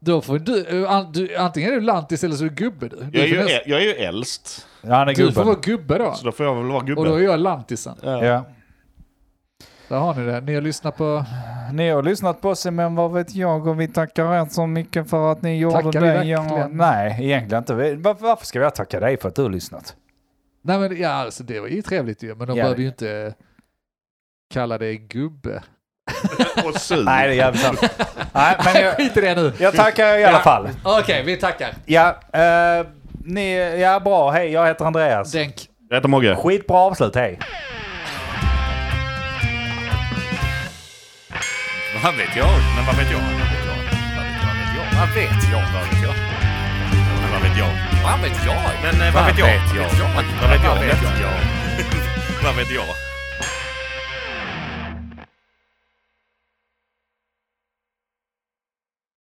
Speaker 1: Då får du, eh, an, du, antingen är du lantis eller så är du gubbe du. Du
Speaker 3: Jag är ju,
Speaker 1: får nästan-
Speaker 3: ä- jag är ju äldst,
Speaker 2: Ja, han är
Speaker 1: du får
Speaker 2: gubben.
Speaker 1: vara gubbe då.
Speaker 3: så då får jag väl vara
Speaker 1: Och då är
Speaker 3: gubbe.
Speaker 1: jag lantisen.
Speaker 2: Ja.
Speaker 1: Där har ni det. Ni har lyssnat på...
Speaker 2: Ni har lyssnat på oss, men vad vet jag? Och vi tackar er så mycket för att ni gjorde
Speaker 1: Tackar vi
Speaker 2: det.
Speaker 1: verkligen?
Speaker 2: Nej, egentligen inte. Vi- Varför, varför ska jag tacka dig för att du har lyssnat?
Speaker 1: Nej men ja, alltså det var ju trevligt ju. Men de
Speaker 2: Ja.
Speaker 1: behöver ju inte kalla dig gubbe.
Speaker 3: Och sur.
Speaker 2: Nej, det är jävligt sant. Nej, men jag,
Speaker 1: Skit i det nu.
Speaker 2: jag tackar er i alla fall.
Speaker 1: Okej, vi tackar.
Speaker 2: Ja, eh, ni, ja, bra. Hej, jag heter Andreas.
Speaker 1: Denk.
Speaker 3: Jag heter Mogge.
Speaker 2: Skitbra avslut, hej.
Speaker 4: Vad vet jag? Men vad vet jag? Vad vet jag? Vad vet jag? Vad vet jag? Men vad vet jag? eh, Vad vet jag? Men vad vet jag? Vad vet jag? Vad vet jag? Vad vet jag?